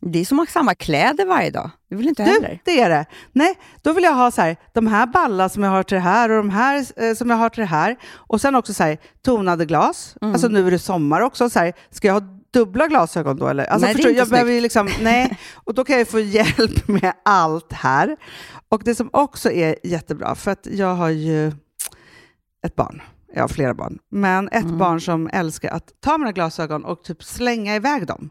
[SPEAKER 2] Det är som att ha samma kläder varje dag. Det vill inte jag
[SPEAKER 1] Du,
[SPEAKER 2] heller.
[SPEAKER 1] det är det. Nej, då vill jag ha så här, de här balla som jag har till det här och de här eh, som jag har till det här. Och sen också så här, tonade glas.
[SPEAKER 2] Mm.
[SPEAKER 1] Alltså nu är det sommar också. Så här, ska jag ha dubbla glasögon då eller? Alltså,
[SPEAKER 2] Nej, det är
[SPEAKER 1] förstår,
[SPEAKER 2] inte
[SPEAKER 1] jag behöver ju liksom, nej. Och då kan jag ju få hjälp med allt här. Och det som också är jättebra, för att jag har ju ett barn. Jag har flera barn. Men ett
[SPEAKER 2] Mm.
[SPEAKER 1] barn som älskar att ta mina glasögon och typ slänga iväg dem.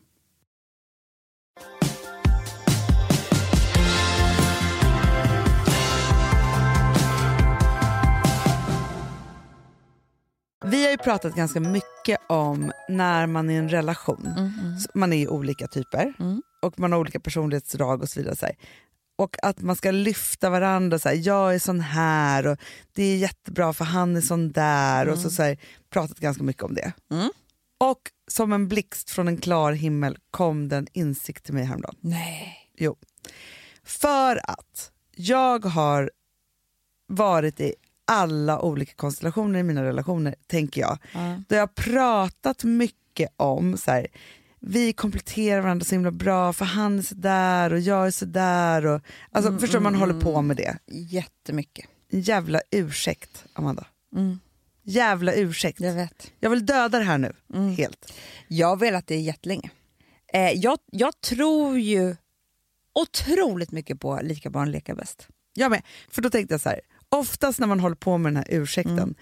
[SPEAKER 1] Vi har ju pratat ganska mycket om när man är i en relation. Så Man är ju olika typer
[SPEAKER 2] Mm.
[SPEAKER 1] och man har olika personlighetsdrag och så vidare. Så här. Och att man ska lyfta varandra. Så här, jag är sån här och det är jättebra för han är sån där. Och så, så här, pratat ganska mycket om det.
[SPEAKER 2] Mm.
[SPEAKER 1] Och som en blixt från en klar himmel kom den insikt till mig häromdagen.
[SPEAKER 2] Nej.
[SPEAKER 1] För att jag har varit i alla olika konstellationer i mina relationer, tänker jag. Då jag har pratat mycket om så här, vi kompletterar varandra så himla bra för han är sådär och jag är sådär. Och, alltså, förstår du, man håller på med det.
[SPEAKER 2] Jättemycket.
[SPEAKER 1] En jävla ursäkt, Amanda. Jävla ursäkt.
[SPEAKER 2] Jag vet.
[SPEAKER 1] Jag vill döda det här nu, helt.
[SPEAKER 2] Jag har velat det jättelänge. Eh, jag, jag tror ju otroligt mycket på lika barn leka bäst.
[SPEAKER 1] Jag med. För då tänkte jag så här, oftast när man håller på med den här ursäkten,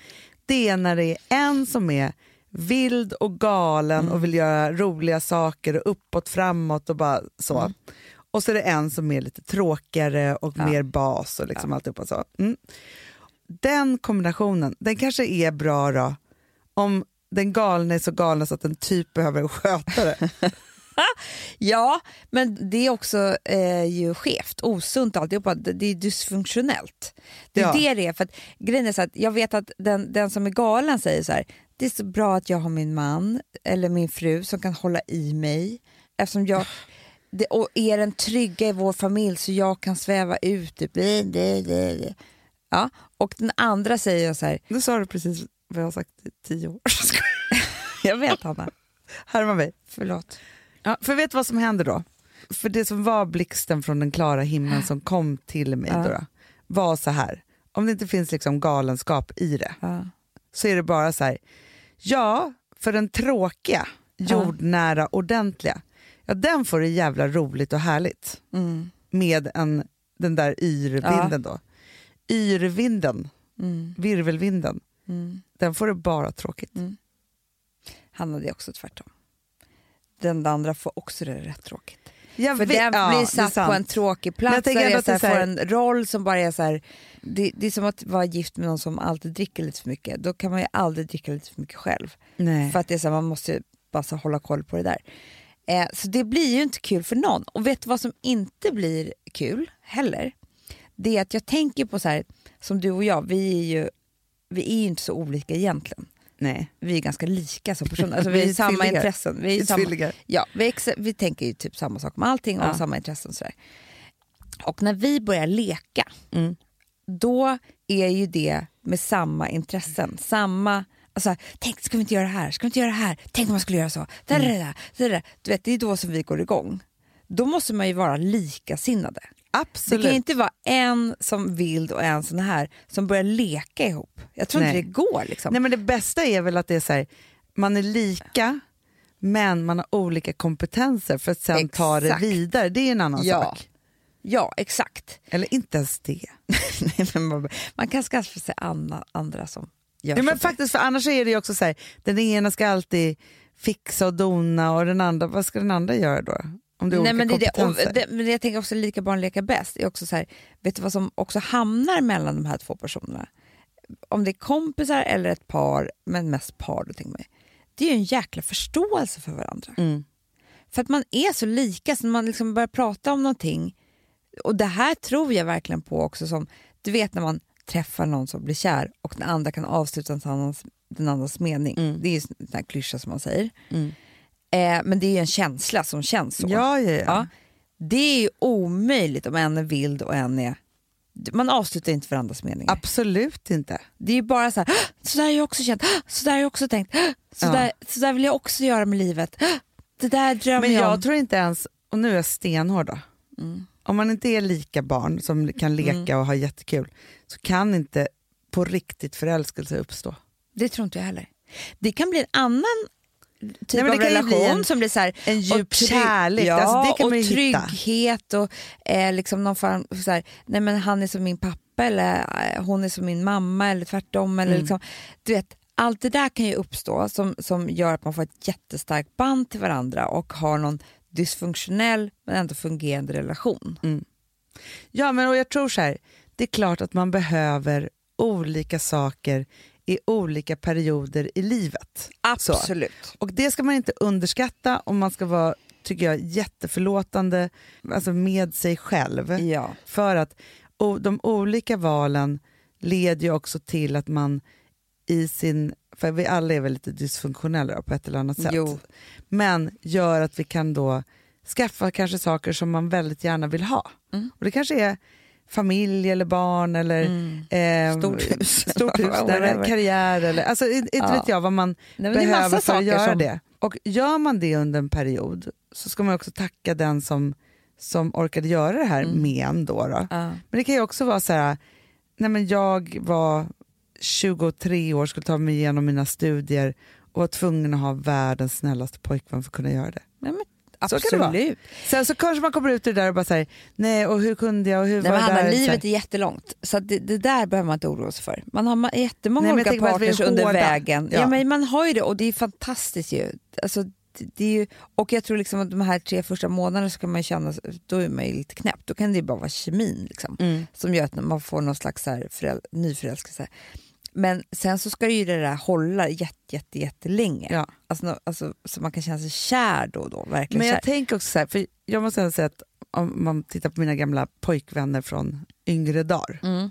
[SPEAKER 1] det är när det är en som är vild och galen och vill göra roliga saker och uppåt, framåt och bara så. Och så är det en som är lite tråkigare och mer bas och liksom alltihopa så. Mm. Den kombinationen, den kanske är bra då om den galna är så galen så att den typ behöver en skötare.
[SPEAKER 2] Ja, men det är också eh, ju skevt, osunt alltihopa. Det, det är dysfunktionellt. Det är
[SPEAKER 1] Ja.
[SPEAKER 2] det det är. För att, grejen är så att jag vet att den, den som är galen säger så här, det är så bra att jag har min man eller min fru som kan hålla i mig eftersom jag det, och är den trygga i vår familj så jag kan sväva ut. Typ. Bli, bli, bli, bli. Ja, och den andra säger så här,
[SPEAKER 1] Nu sa du precis vad jag har sagt i tio år.
[SPEAKER 2] jag vet Hanna,
[SPEAKER 1] Härma mig.
[SPEAKER 2] förlåt.
[SPEAKER 1] Ja, för vet du vad som händer då? För det som var blixten från den klara himlen som kom till mig då, då var så här. Om det inte finns liksom galenskap i det
[SPEAKER 2] Ja.
[SPEAKER 1] så är det bara så här. Ja, för den tråkiga, jordnära, ordentliga. Ja, den får det jävla roligt och härligt
[SPEAKER 2] Mm,
[SPEAKER 1] med en, den där yrvinden då. Yrvinden,
[SPEAKER 2] mm,
[SPEAKER 1] virvelvinden,
[SPEAKER 2] mm.
[SPEAKER 1] den får det bara tråkigt.
[SPEAKER 2] Han hade också tvärtom. Den andra får också det rätt tråkigt.
[SPEAKER 1] Jag
[SPEAKER 2] För
[SPEAKER 1] vet-
[SPEAKER 2] den
[SPEAKER 1] ja, det är
[SPEAKER 2] blir satt på
[SPEAKER 1] sant.
[SPEAKER 2] en tråkig
[SPEAKER 1] Men
[SPEAKER 2] plats
[SPEAKER 1] jag
[SPEAKER 2] där
[SPEAKER 1] tänker
[SPEAKER 2] det
[SPEAKER 1] ändå
[SPEAKER 2] är
[SPEAKER 1] att
[SPEAKER 2] så här,
[SPEAKER 1] det är så
[SPEAKER 2] får
[SPEAKER 1] här-
[SPEAKER 2] en roll som bara är så här. Det, det är som att vara gift med någon som alltid dricker lite för mycket. Då kan man ju aldrig dricka lite för mycket själv.
[SPEAKER 1] Nej.
[SPEAKER 2] För att det är så här, man måste ju bara så hålla koll på det där. Eh, så det blir ju inte kul för någon. Och vet du vad som inte blir kul heller? Det är att jag tänker på så här, som du och jag, vi är ju, vi är ju inte så olika egentligen
[SPEAKER 1] Nej.
[SPEAKER 2] vi är ganska lika som personer. Alltså, vi
[SPEAKER 1] Vi
[SPEAKER 2] har
[SPEAKER 1] är
[SPEAKER 2] ju samma
[SPEAKER 1] tvillingar.
[SPEAKER 2] intressen. Vi, är ju samma,
[SPEAKER 1] Tvillingar.
[SPEAKER 2] ja, vi, ex- vi tänker ju typ samma sak om allting och
[SPEAKER 1] Ja.
[SPEAKER 2] samma intressen. Och, sådär. och när vi börjar leka,
[SPEAKER 1] Mm.
[SPEAKER 2] då är ju det med samma intressen. Samma, alltså, tänk, ska vi inte göra det här? Ska vi inte göra det här? Tänk om man skulle göra så? Där,
[SPEAKER 1] Mm.
[SPEAKER 2] där, där, där, där. Du vet, det är då som vi går igång. Då måste man ju vara likasinnade. Det
[SPEAKER 1] Absolut.
[SPEAKER 2] kan ju inte vara en som vild och en sån här som börjar leka ihop. Jag tror
[SPEAKER 1] Nej.
[SPEAKER 2] inte det går. Liksom.
[SPEAKER 1] Nej men det bästa är väl att det är så här, man är lika men man har olika kompetenser för att sen ta det
[SPEAKER 2] Exakt.
[SPEAKER 1] vidare. Det är ju en annan
[SPEAKER 2] Ja.
[SPEAKER 1] sak.
[SPEAKER 2] Ja, exakt.
[SPEAKER 1] Eller inte ens det.
[SPEAKER 2] Nej, men man, man kan skaffa sig anna, andra som gör
[SPEAKER 1] Ja, men
[SPEAKER 2] sånt där.
[SPEAKER 1] faktiskt, för annars är det ju också så här, den ena ska alltid fixa och dona och den andra, vad ska den andra göra då? Om det är
[SPEAKER 2] Nej,
[SPEAKER 1] olika
[SPEAKER 2] men, det, är det, och,
[SPEAKER 1] kompetenser.
[SPEAKER 2] det, men Jag tänker också lika barn leka bäst. Är också så här, vet du vad som också hamnar mellan de här två personerna? Om det är kompisar eller ett par, men mest par då tänker man ju. Det är ju en jäkla förståelse för varandra.
[SPEAKER 1] Mm.
[SPEAKER 2] För att man är så lika, så när man liksom börjar prata om någonting. Och det här tror jag verkligen på också som, du vet när man träffar någon som blir kär och den andra kan avsluta den andras, den andras mening. Det är ju en sån här klyscha som man säger.
[SPEAKER 1] Mm.
[SPEAKER 2] Eh, men det är ju en känsla som känns så.
[SPEAKER 1] ja, ja, ja.
[SPEAKER 2] Ja. Det är ju omöjligt om en är vild och en är... Man avslutar inte varandras meningar.
[SPEAKER 1] Absolut inte.
[SPEAKER 2] Det är ju bara så här, "Hå! så där har jag också känt, Hå! så där har jag också tänkt, Hå! så,
[SPEAKER 1] Ja.
[SPEAKER 2] där, så där vill jag också göra med livet. Hå! Det där drömmer
[SPEAKER 1] Men
[SPEAKER 2] jag
[SPEAKER 1] jag Mm.
[SPEAKER 2] om.
[SPEAKER 1] tror inte ens, och nu är jag stenhård då. Om man inte är lika barn som kan leka och ha jättekul så kan inte på riktigt förälskelse uppstå.
[SPEAKER 2] Det tror inte jag heller. Det kan bli en annan typ
[SPEAKER 1] men det
[SPEAKER 2] av
[SPEAKER 1] kan ju bli
[SPEAKER 2] relation
[SPEAKER 1] en-
[SPEAKER 2] som blir så här,
[SPEAKER 1] En djup
[SPEAKER 2] och trygg-
[SPEAKER 1] kärlek,
[SPEAKER 2] ja,
[SPEAKER 1] alltså, det kan
[SPEAKER 2] och
[SPEAKER 1] man ju hitta.
[SPEAKER 2] trygghet och eh, liksom någon form så här, nej
[SPEAKER 1] Mm.
[SPEAKER 2] men han är som min pappa eller eh, hon är som min mamma eller tvärtom. Eller liksom, du vet, allt det där kan ju uppstå som, som gör att man får ett jättestarkt band till varandra och har någon dysfunktionell men ändå fungerande relation.
[SPEAKER 1] Ja, men och jag tror så här, det är klart att man behöver olika saker i olika perioder i livet. Så.
[SPEAKER 2] Absolut.
[SPEAKER 1] Och det ska man inte underskatta om man ska vara, tycker jag, jätteförlåtande alltså med sig själv.
[SPEAKER 2] Ja.
[SPEAKER 1] För att o- de olika valen leder ju också till att man i sin, för vi alla är väl lite dysfunktionella då, på ett eller annat sätt,
[SPEAKER 2] Jo.
[SPEAKER 1] men gör att vi kan då skaffa kanske saker som man väldigt gärna vill ha.
[SPEAKER 2] Mm.
[SPEAKER 1] Och det kanske är familj eller barn eller
[SPEAKER 2] Mm.
[SPEAKER 1] ehm,
[SPEAKER 2] Stort hus.
[SPEAKER 1] stort hus eller
[SPEAKER 2] Whatever.
[SPEAKER 1] karriär eller alltså inte
[SPEAKER 2] Ja.
[SPEAKER 1] vet jag vad man
[SPEAKER 2] Nej, men det är
[SPEAKER 1] behöver
[SPEAKER 2] massa
[SPEAKER 1] för att
[SPEAKER 2] saker
[SPEAKER 1] göra
[SPEAKER 2] som...
[SPEAKER 1] det. Och gör man det under en period så ska man också tacka den som, som orkade göra det här
[SPEAKER 2] Mm.
[SPEAKER 1] med en då, då.
[SPEAKER 2] Ja.
[SPEAKER 1] Men det kan ju också vara så här, nej men jag var 23 år, skulle ta mig igenom mina studier och var tvungen att ha världens snällaste pojkvän för att kunna göra det.
[SPEAKER 2] Nej, men
[SPEAKER 1] Så kan det vara.
[SPEAKER 2] absolut.
[SPEAKER 1] Sen så kanske man kommer ut ur det där och bara säger nej och hur kunde jag och hur
[SPEAKER 2] Nej,
[SPEAKER 1] var
[SPEAKER 2] men
[SPEAKER 1] det
[SPEAKER 2] Hanna,
[SPEAKER 1] där? Så här.
[SPEAKER 2] livet är jättelångt, så att det, det där behöver man inte oroa sig för. Man har ma- jättemånga
[SPEAKER 1] Nej, men jag
[SPEAKER 2] olika
[SPEAKER 1] tänker på att vi är
[SPEAKER 2] partners under
[SPEAKER 1] hårda.
[SPEAKER 2] vägen. Ja.
[SPEAKER 1] Ja.
[SPEAKER 2] men man har ju det och det är fantastiskt ju. Alltså, det, det är ju och jag tror liksom att de här tre första månaderna så kan man ju känna, då är man ju lite knäpp. Då kan det ju bara vara kemin liksom,
[SPEAKER 1] Mm.
[SPEAKER 2] som gör att man får någon slags så här föräl- nyförälskelse. Men sen så ska ju det där hålla jätte, jätte, jättelänge.
[SPEAKER 1] Ja.
[SPEAKER 2] Alltså, nå- alltså, så man kan känna sig kär då och då. Verkligen
[SPEAKER 1] Men
[SPEAKER 2] kär.
[SPEAKER 1] jag tänker också så här, för jag måste ändå säga att om man tittar på mina gamla pojkvänner från yngre dagar.
[SPEAKER 2] Mm.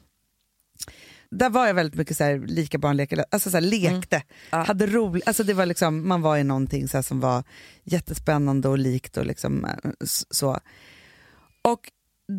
[SPEAKER 1] Där var jag väldigt mycket så här, lika barn leker, alltså så här, lekte,
[SPEAKER 2] Ja.
[SPEAKER 1] hade roligt, alltså det var liksom, man var i någonting så här, som var jättespännande och likt och liksom eh, s- så. Och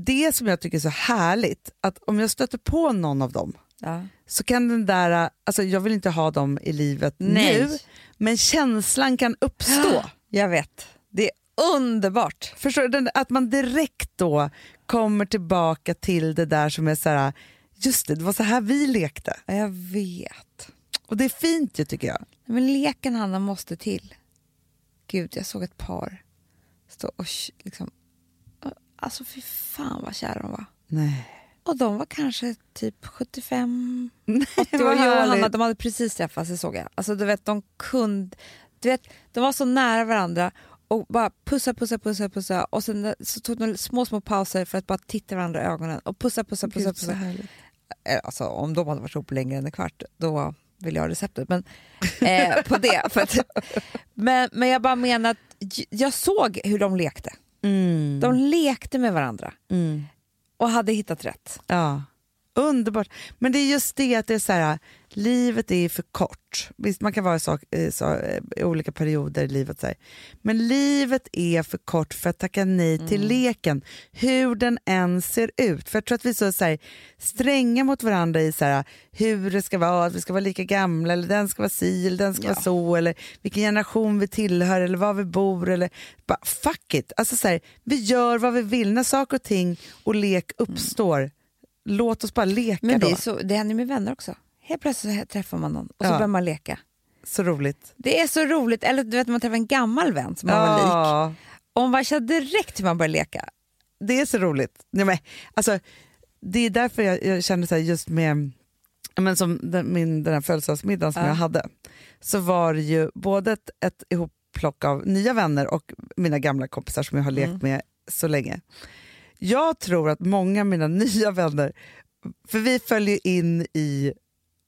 [SPEAKER 1] det som jag tycker är så härligt, att om jag stöter på någon av dem
[SPEAKER 2] Ja.
[SPEAKER 1] så kan den där, eh, alltså jag vill inte ha dem i livet nu,
[SPEAKER 2] Nej,
[SPEAKER 1] men känslan kan uppstå.
[SPEAKER 2] jag vet. Det är underbart.
[SPEAKER 1] Förstår du? Den- Att man direkt då kommer tillbaka till det där som är så här, just det, det var så här vi lekte.
[SPEAKER 2] Ja, jag vet.
[SPEAKER 1] Och det är fint ju tycker jag.
[SPEAKER 2] Men leken Hanna måste till. Gud, jag såg ett par stå och sh- liksom... Alltså fy fan vad kära de var.
[SPEAKER 1] Nej.
[SPEAKER 2] Och de var kanske typ 75, 80
[SPEAKER 1] vad
[SPEAKER 2] år. Jo, Hanna,
[SPEAKER 1] härligt.
[SPEAKER 2] de hade precis träffats, det såg jag. Alltså du vet, de kunde... Du vet, de var så nära varandra och bara pussa, pussa, pussa, pussa och sen så tog de små, små pauser för att bara titta varandra i ögonen och pussa, pussa, pussa, pussa. Eh, alltså, om de hade varit ihop längre än en kvart, då vill jag ha receptet. Men, eh, på det. För att, men, men jag bara menar att j- jag såg hur de lekte.
[SPEAKER 1] Mm.
[SPEAKER 2] De lekte med varandra
[SPEAKER 1] Mm.
[SPEAKER 2] och hade hittat rätt.
[SPEAKER 1] Ja. Underbart. Men det är just det att det är så här, livet är för kort. Visst, man kan vara i, sak, i, så, i olika perioder i livet. Så här. Men livet är för kort för att tacka nej till leken, hur den än ser ut. För jag tror att vi är så, så här, stränga mot varandra i så här, hur det ska vara, att vi ska vara lika gamla, eller den ska vara si, eller den ska vara så, eller vilken generation vi tillhör, eller var vi bor, eller bara fuck it. Alltså så här, vi gör vad vi vill när saker och ting och lek uppstår. Låt oss bara leka
[SPEAKER 2] Men det,
[SPEAKER 1] då.
[SPEAKER 2] är så, det händer med vänner också. Helt plötsligt så träffar man någon och
[SPEAKER 1] Ja.
[SPEAKER 2] så börjar man leka.
[SPEAKER 1] Så roligt.
[SPEAKER 2] Det är så roligt. Eller du vet, man träffar en gammal vän som man var lik.
[SPEAKER 1] Ja,
[SPEAKER 2] Och man känner direkt hur man börjar leka.
[SPEAKER 1] det är så roligt. Nej, men, alltså, det är därför jag, jag känner så här just med ja, men som den, min, den här födelsedagsmiddagen som
[SPEAKER 2] Ja.
[SPEAKER 1] jag hade, så var det ju både ett, ett ihopplock av nya vänner och mina gamla kompisar som jag har lekt
[SPEAKER 2] Mm.
[SPEAKER 1] med så länge. Jag tror att många av mina nya vänner, för vi följer in i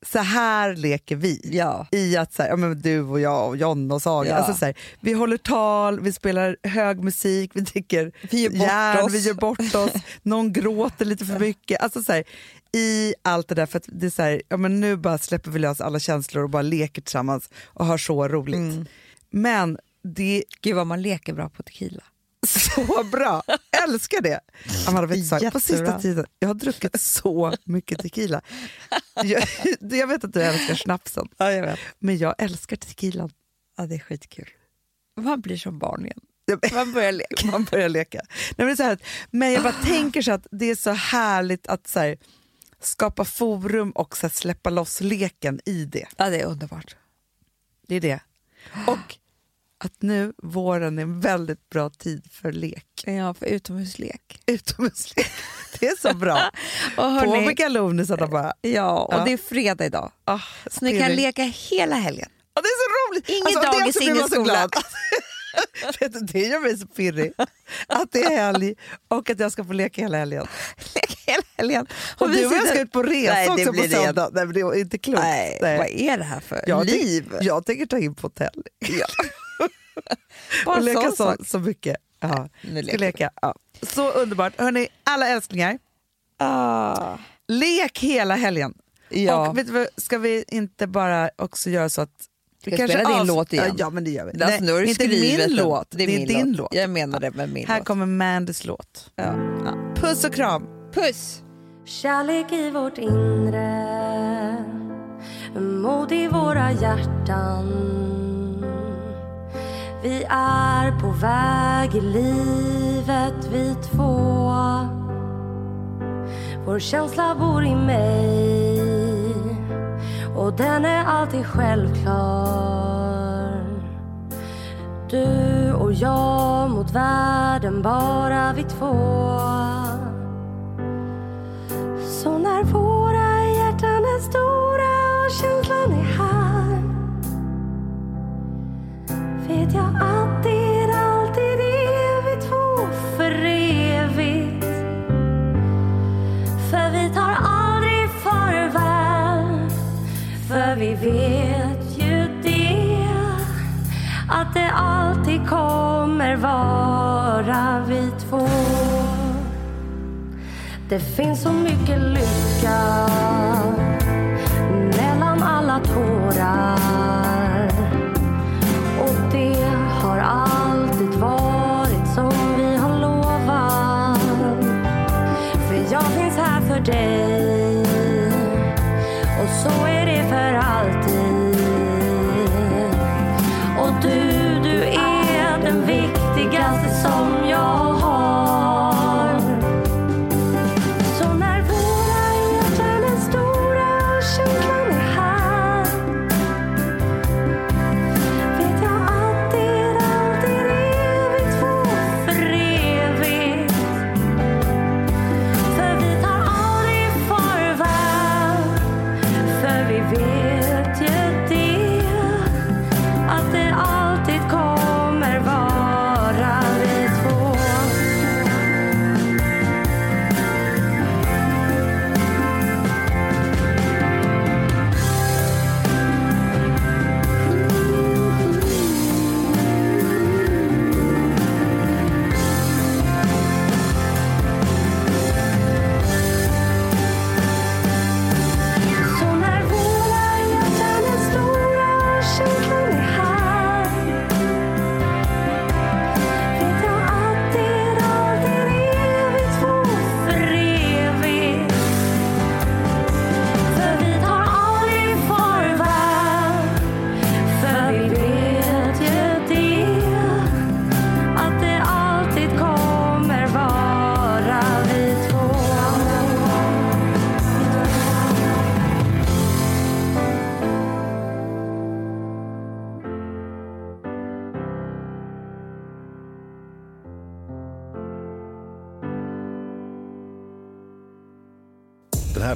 [SPEAKER 1] så här leker vi.
[SPEAKER 2] Ja.
[SPEAKER 1] i att så här, ja, men du och jag och John och Saga,
[SPEAKER 2] Ja.
[SPEAKER 1] alltså, så här, vi håller tal, vi spelar hög musik, vi dricker
[SPEAKER 2] Vi gör bort oss.
[SPEAKER 1] vi gör bort oss, någon gråter lite för mycket. Alltså, så här, I allt det där, för att det är så här, ja, men nu bara släpper vi lös alla känslor och bara leker tillsammans och har så roligt.
[SPEAKER 2] Mm.
[SPEAKER 1] Men det
[SPEAKER 2] Gud vad man leker bra på tequila.
[SPEAKER 1] så bra. Älskar det. Amanda, vet du, så, på sista
[SPEAKER 2] Jättebra.
[SPEAKER 1] tiden, jag har druckit så mycket tequila. Jag, jag vet att du älskar snapsen,
[SPEAKER 2] Ja, jag vet.
[SPEAKER 1] men jag älskar tequilan.
[SPEAKER 2] Ja, det är skitkul. Man blir som barn igen.
[SPEAKER 1] Man börjar leka. Man börjar leka. Nej, men, det är så här, att- men jag bara
[SPEAKER 2] Ah.
[SPEAKER 1] tänker så att det är så härligt att så här, skapa forum och så här, släppa loss leken i det.
[SPEAKER 2] Ja, det är underbart.
[SPEAKER 1] Det är det. Och att nu våren är en väldigt bra tid för lek.
[SPEAKER 2] Ja, för utomhuslek.
[SPEAKER 1] Utomhuslek. Det är så bra.
[SPEAKER 2] Och
[SPEAKER 1] På
[SPEAKER 2] hörni,
[SPEAKER 1] med galoner satt han bara.
[SPEAKER 2] ja, och
[SPEAKER 1] Ja.
[SPEAKER 2] det är fredag idag.
[SPEAKER 1] Ah,
[SPEAKER 2] Så ni
[SPEAKER 1] det är
[SPEAKER 2] kan
[SPEAKER 1] det.
[SPEAKER 2] leka hela helgen.
[SPEAKER 1] Ja, det är så roligt!
[SPEAKER 2] Ingen
[SPEAKER 1] av det
[SPEAKER 2] dagis,
[SPEAKER 1] så blir
[SPEAKER 2] ingen
[SPEAKER 1] man så
[SPEAKER 2] skola.
[SPEAKER 1] glad. Vet du, det gör mig så pirrig. Att det är helg och att jag ska få leka hela helgen.
[SPEAKER 2] Leka hela helgen.
[SPEAKER 1] Och
[SPEAKER 2] vi
[SPEAKER 1] du och jag
[SPEAKER 2] sitter-
[SPEAKER 1] ska ut på resa
[SPEAKER 2] Nej, det
[SPEAKER 1] också på
[SPEAKER 2] blir det.
[SPEAKER 1] söndag. Nej, men det är inte klokt.
[SPEAKER 2] Nej,
[SPEAKER 1] Nej.
[SPEAKER 2] vad är det här för
[SPEAKER 1] Jag, tänk-
[SPEAKER 2] liv?
[SPEAKER 1] jag tänker ta in på hotell
[SPEAKER 2] Bara
[SPEAKER 1] och leka
[SPEAKER 2] sån
[SPEAKER 1] så,
[SPEAKER 2] sak.
[SPEAKER 1] så mycket. Ja.
[SPEAKER 2] Nu
[SPEAKER 1] Ska
[SPEAKER 2] leker vi.
[SPEAKER 1] leka. Ja. Så underbart. Hörni, alla älsklingar,
[SPEAKER 2] Ah,
[SPEAKER 1] lek hela helgen.
[SPEAKER 2] ja.
[SPEAKER 1] Och vet du vad, ska vi inte bara också göra så att...
[SPEAKER 2] Ska jag spela din låt igen?
[SPEAKER 1] Ja, men det gör vi.
[SPEAKER 2] Alltså, nu har du
[SPEAKER 1] inte
[SPEAKER 2] skrivit
[SPEAKER 1] min
[SPEAKER 2] den.
[SPEAKER 1] låt, det är,
[SPEAKER 2] min
[SPEAKER 1] din låt.
[SPEAKER 2] Jag menar det med min
[SPEAKER 1] Här
[SPEAKER 2] låt.
[SPEAKER 1] kommer Mandys låt.
[SPEAKER 2] Ja.
[SPEAKER 1] Puss och kram!
[SPEAKER 2] Puss!
[SPEAKER 4] Kärlek i vårt inre Mod i våra hjärtan Vi är på väg i livet vi två Vår känsla bor i mig Och den är alltid självklar Du och jag mot världen, bara vi två så när våra hjärtan är stora och känslan är här vet jag att det är alltid är vi två för evigt. För vi tar aldrig farväl för vi vet ju det att det alltid kommer vara vi två. Det finns så mycket lycka mellan alla tårar. Och det har alltid varit som vi har lovat. För jag finns här för dig och så är det för alltid. Och du, du är den viktigaste som jag har. Så när våra hjärtan är stora och känslan är här vet jag att det alltid är vi två för evigt. För vi tar aldrig farväl för vi vet ju det att det alltid kommer vara vi två. Så när våra hjärtan är stora och känslan är här vet jag att det alltid är vi två för evigt. För vi tar aldrig farväl för vi vet ju det att det alltid kommer vara vi två.
[SPEAKER 5] Den här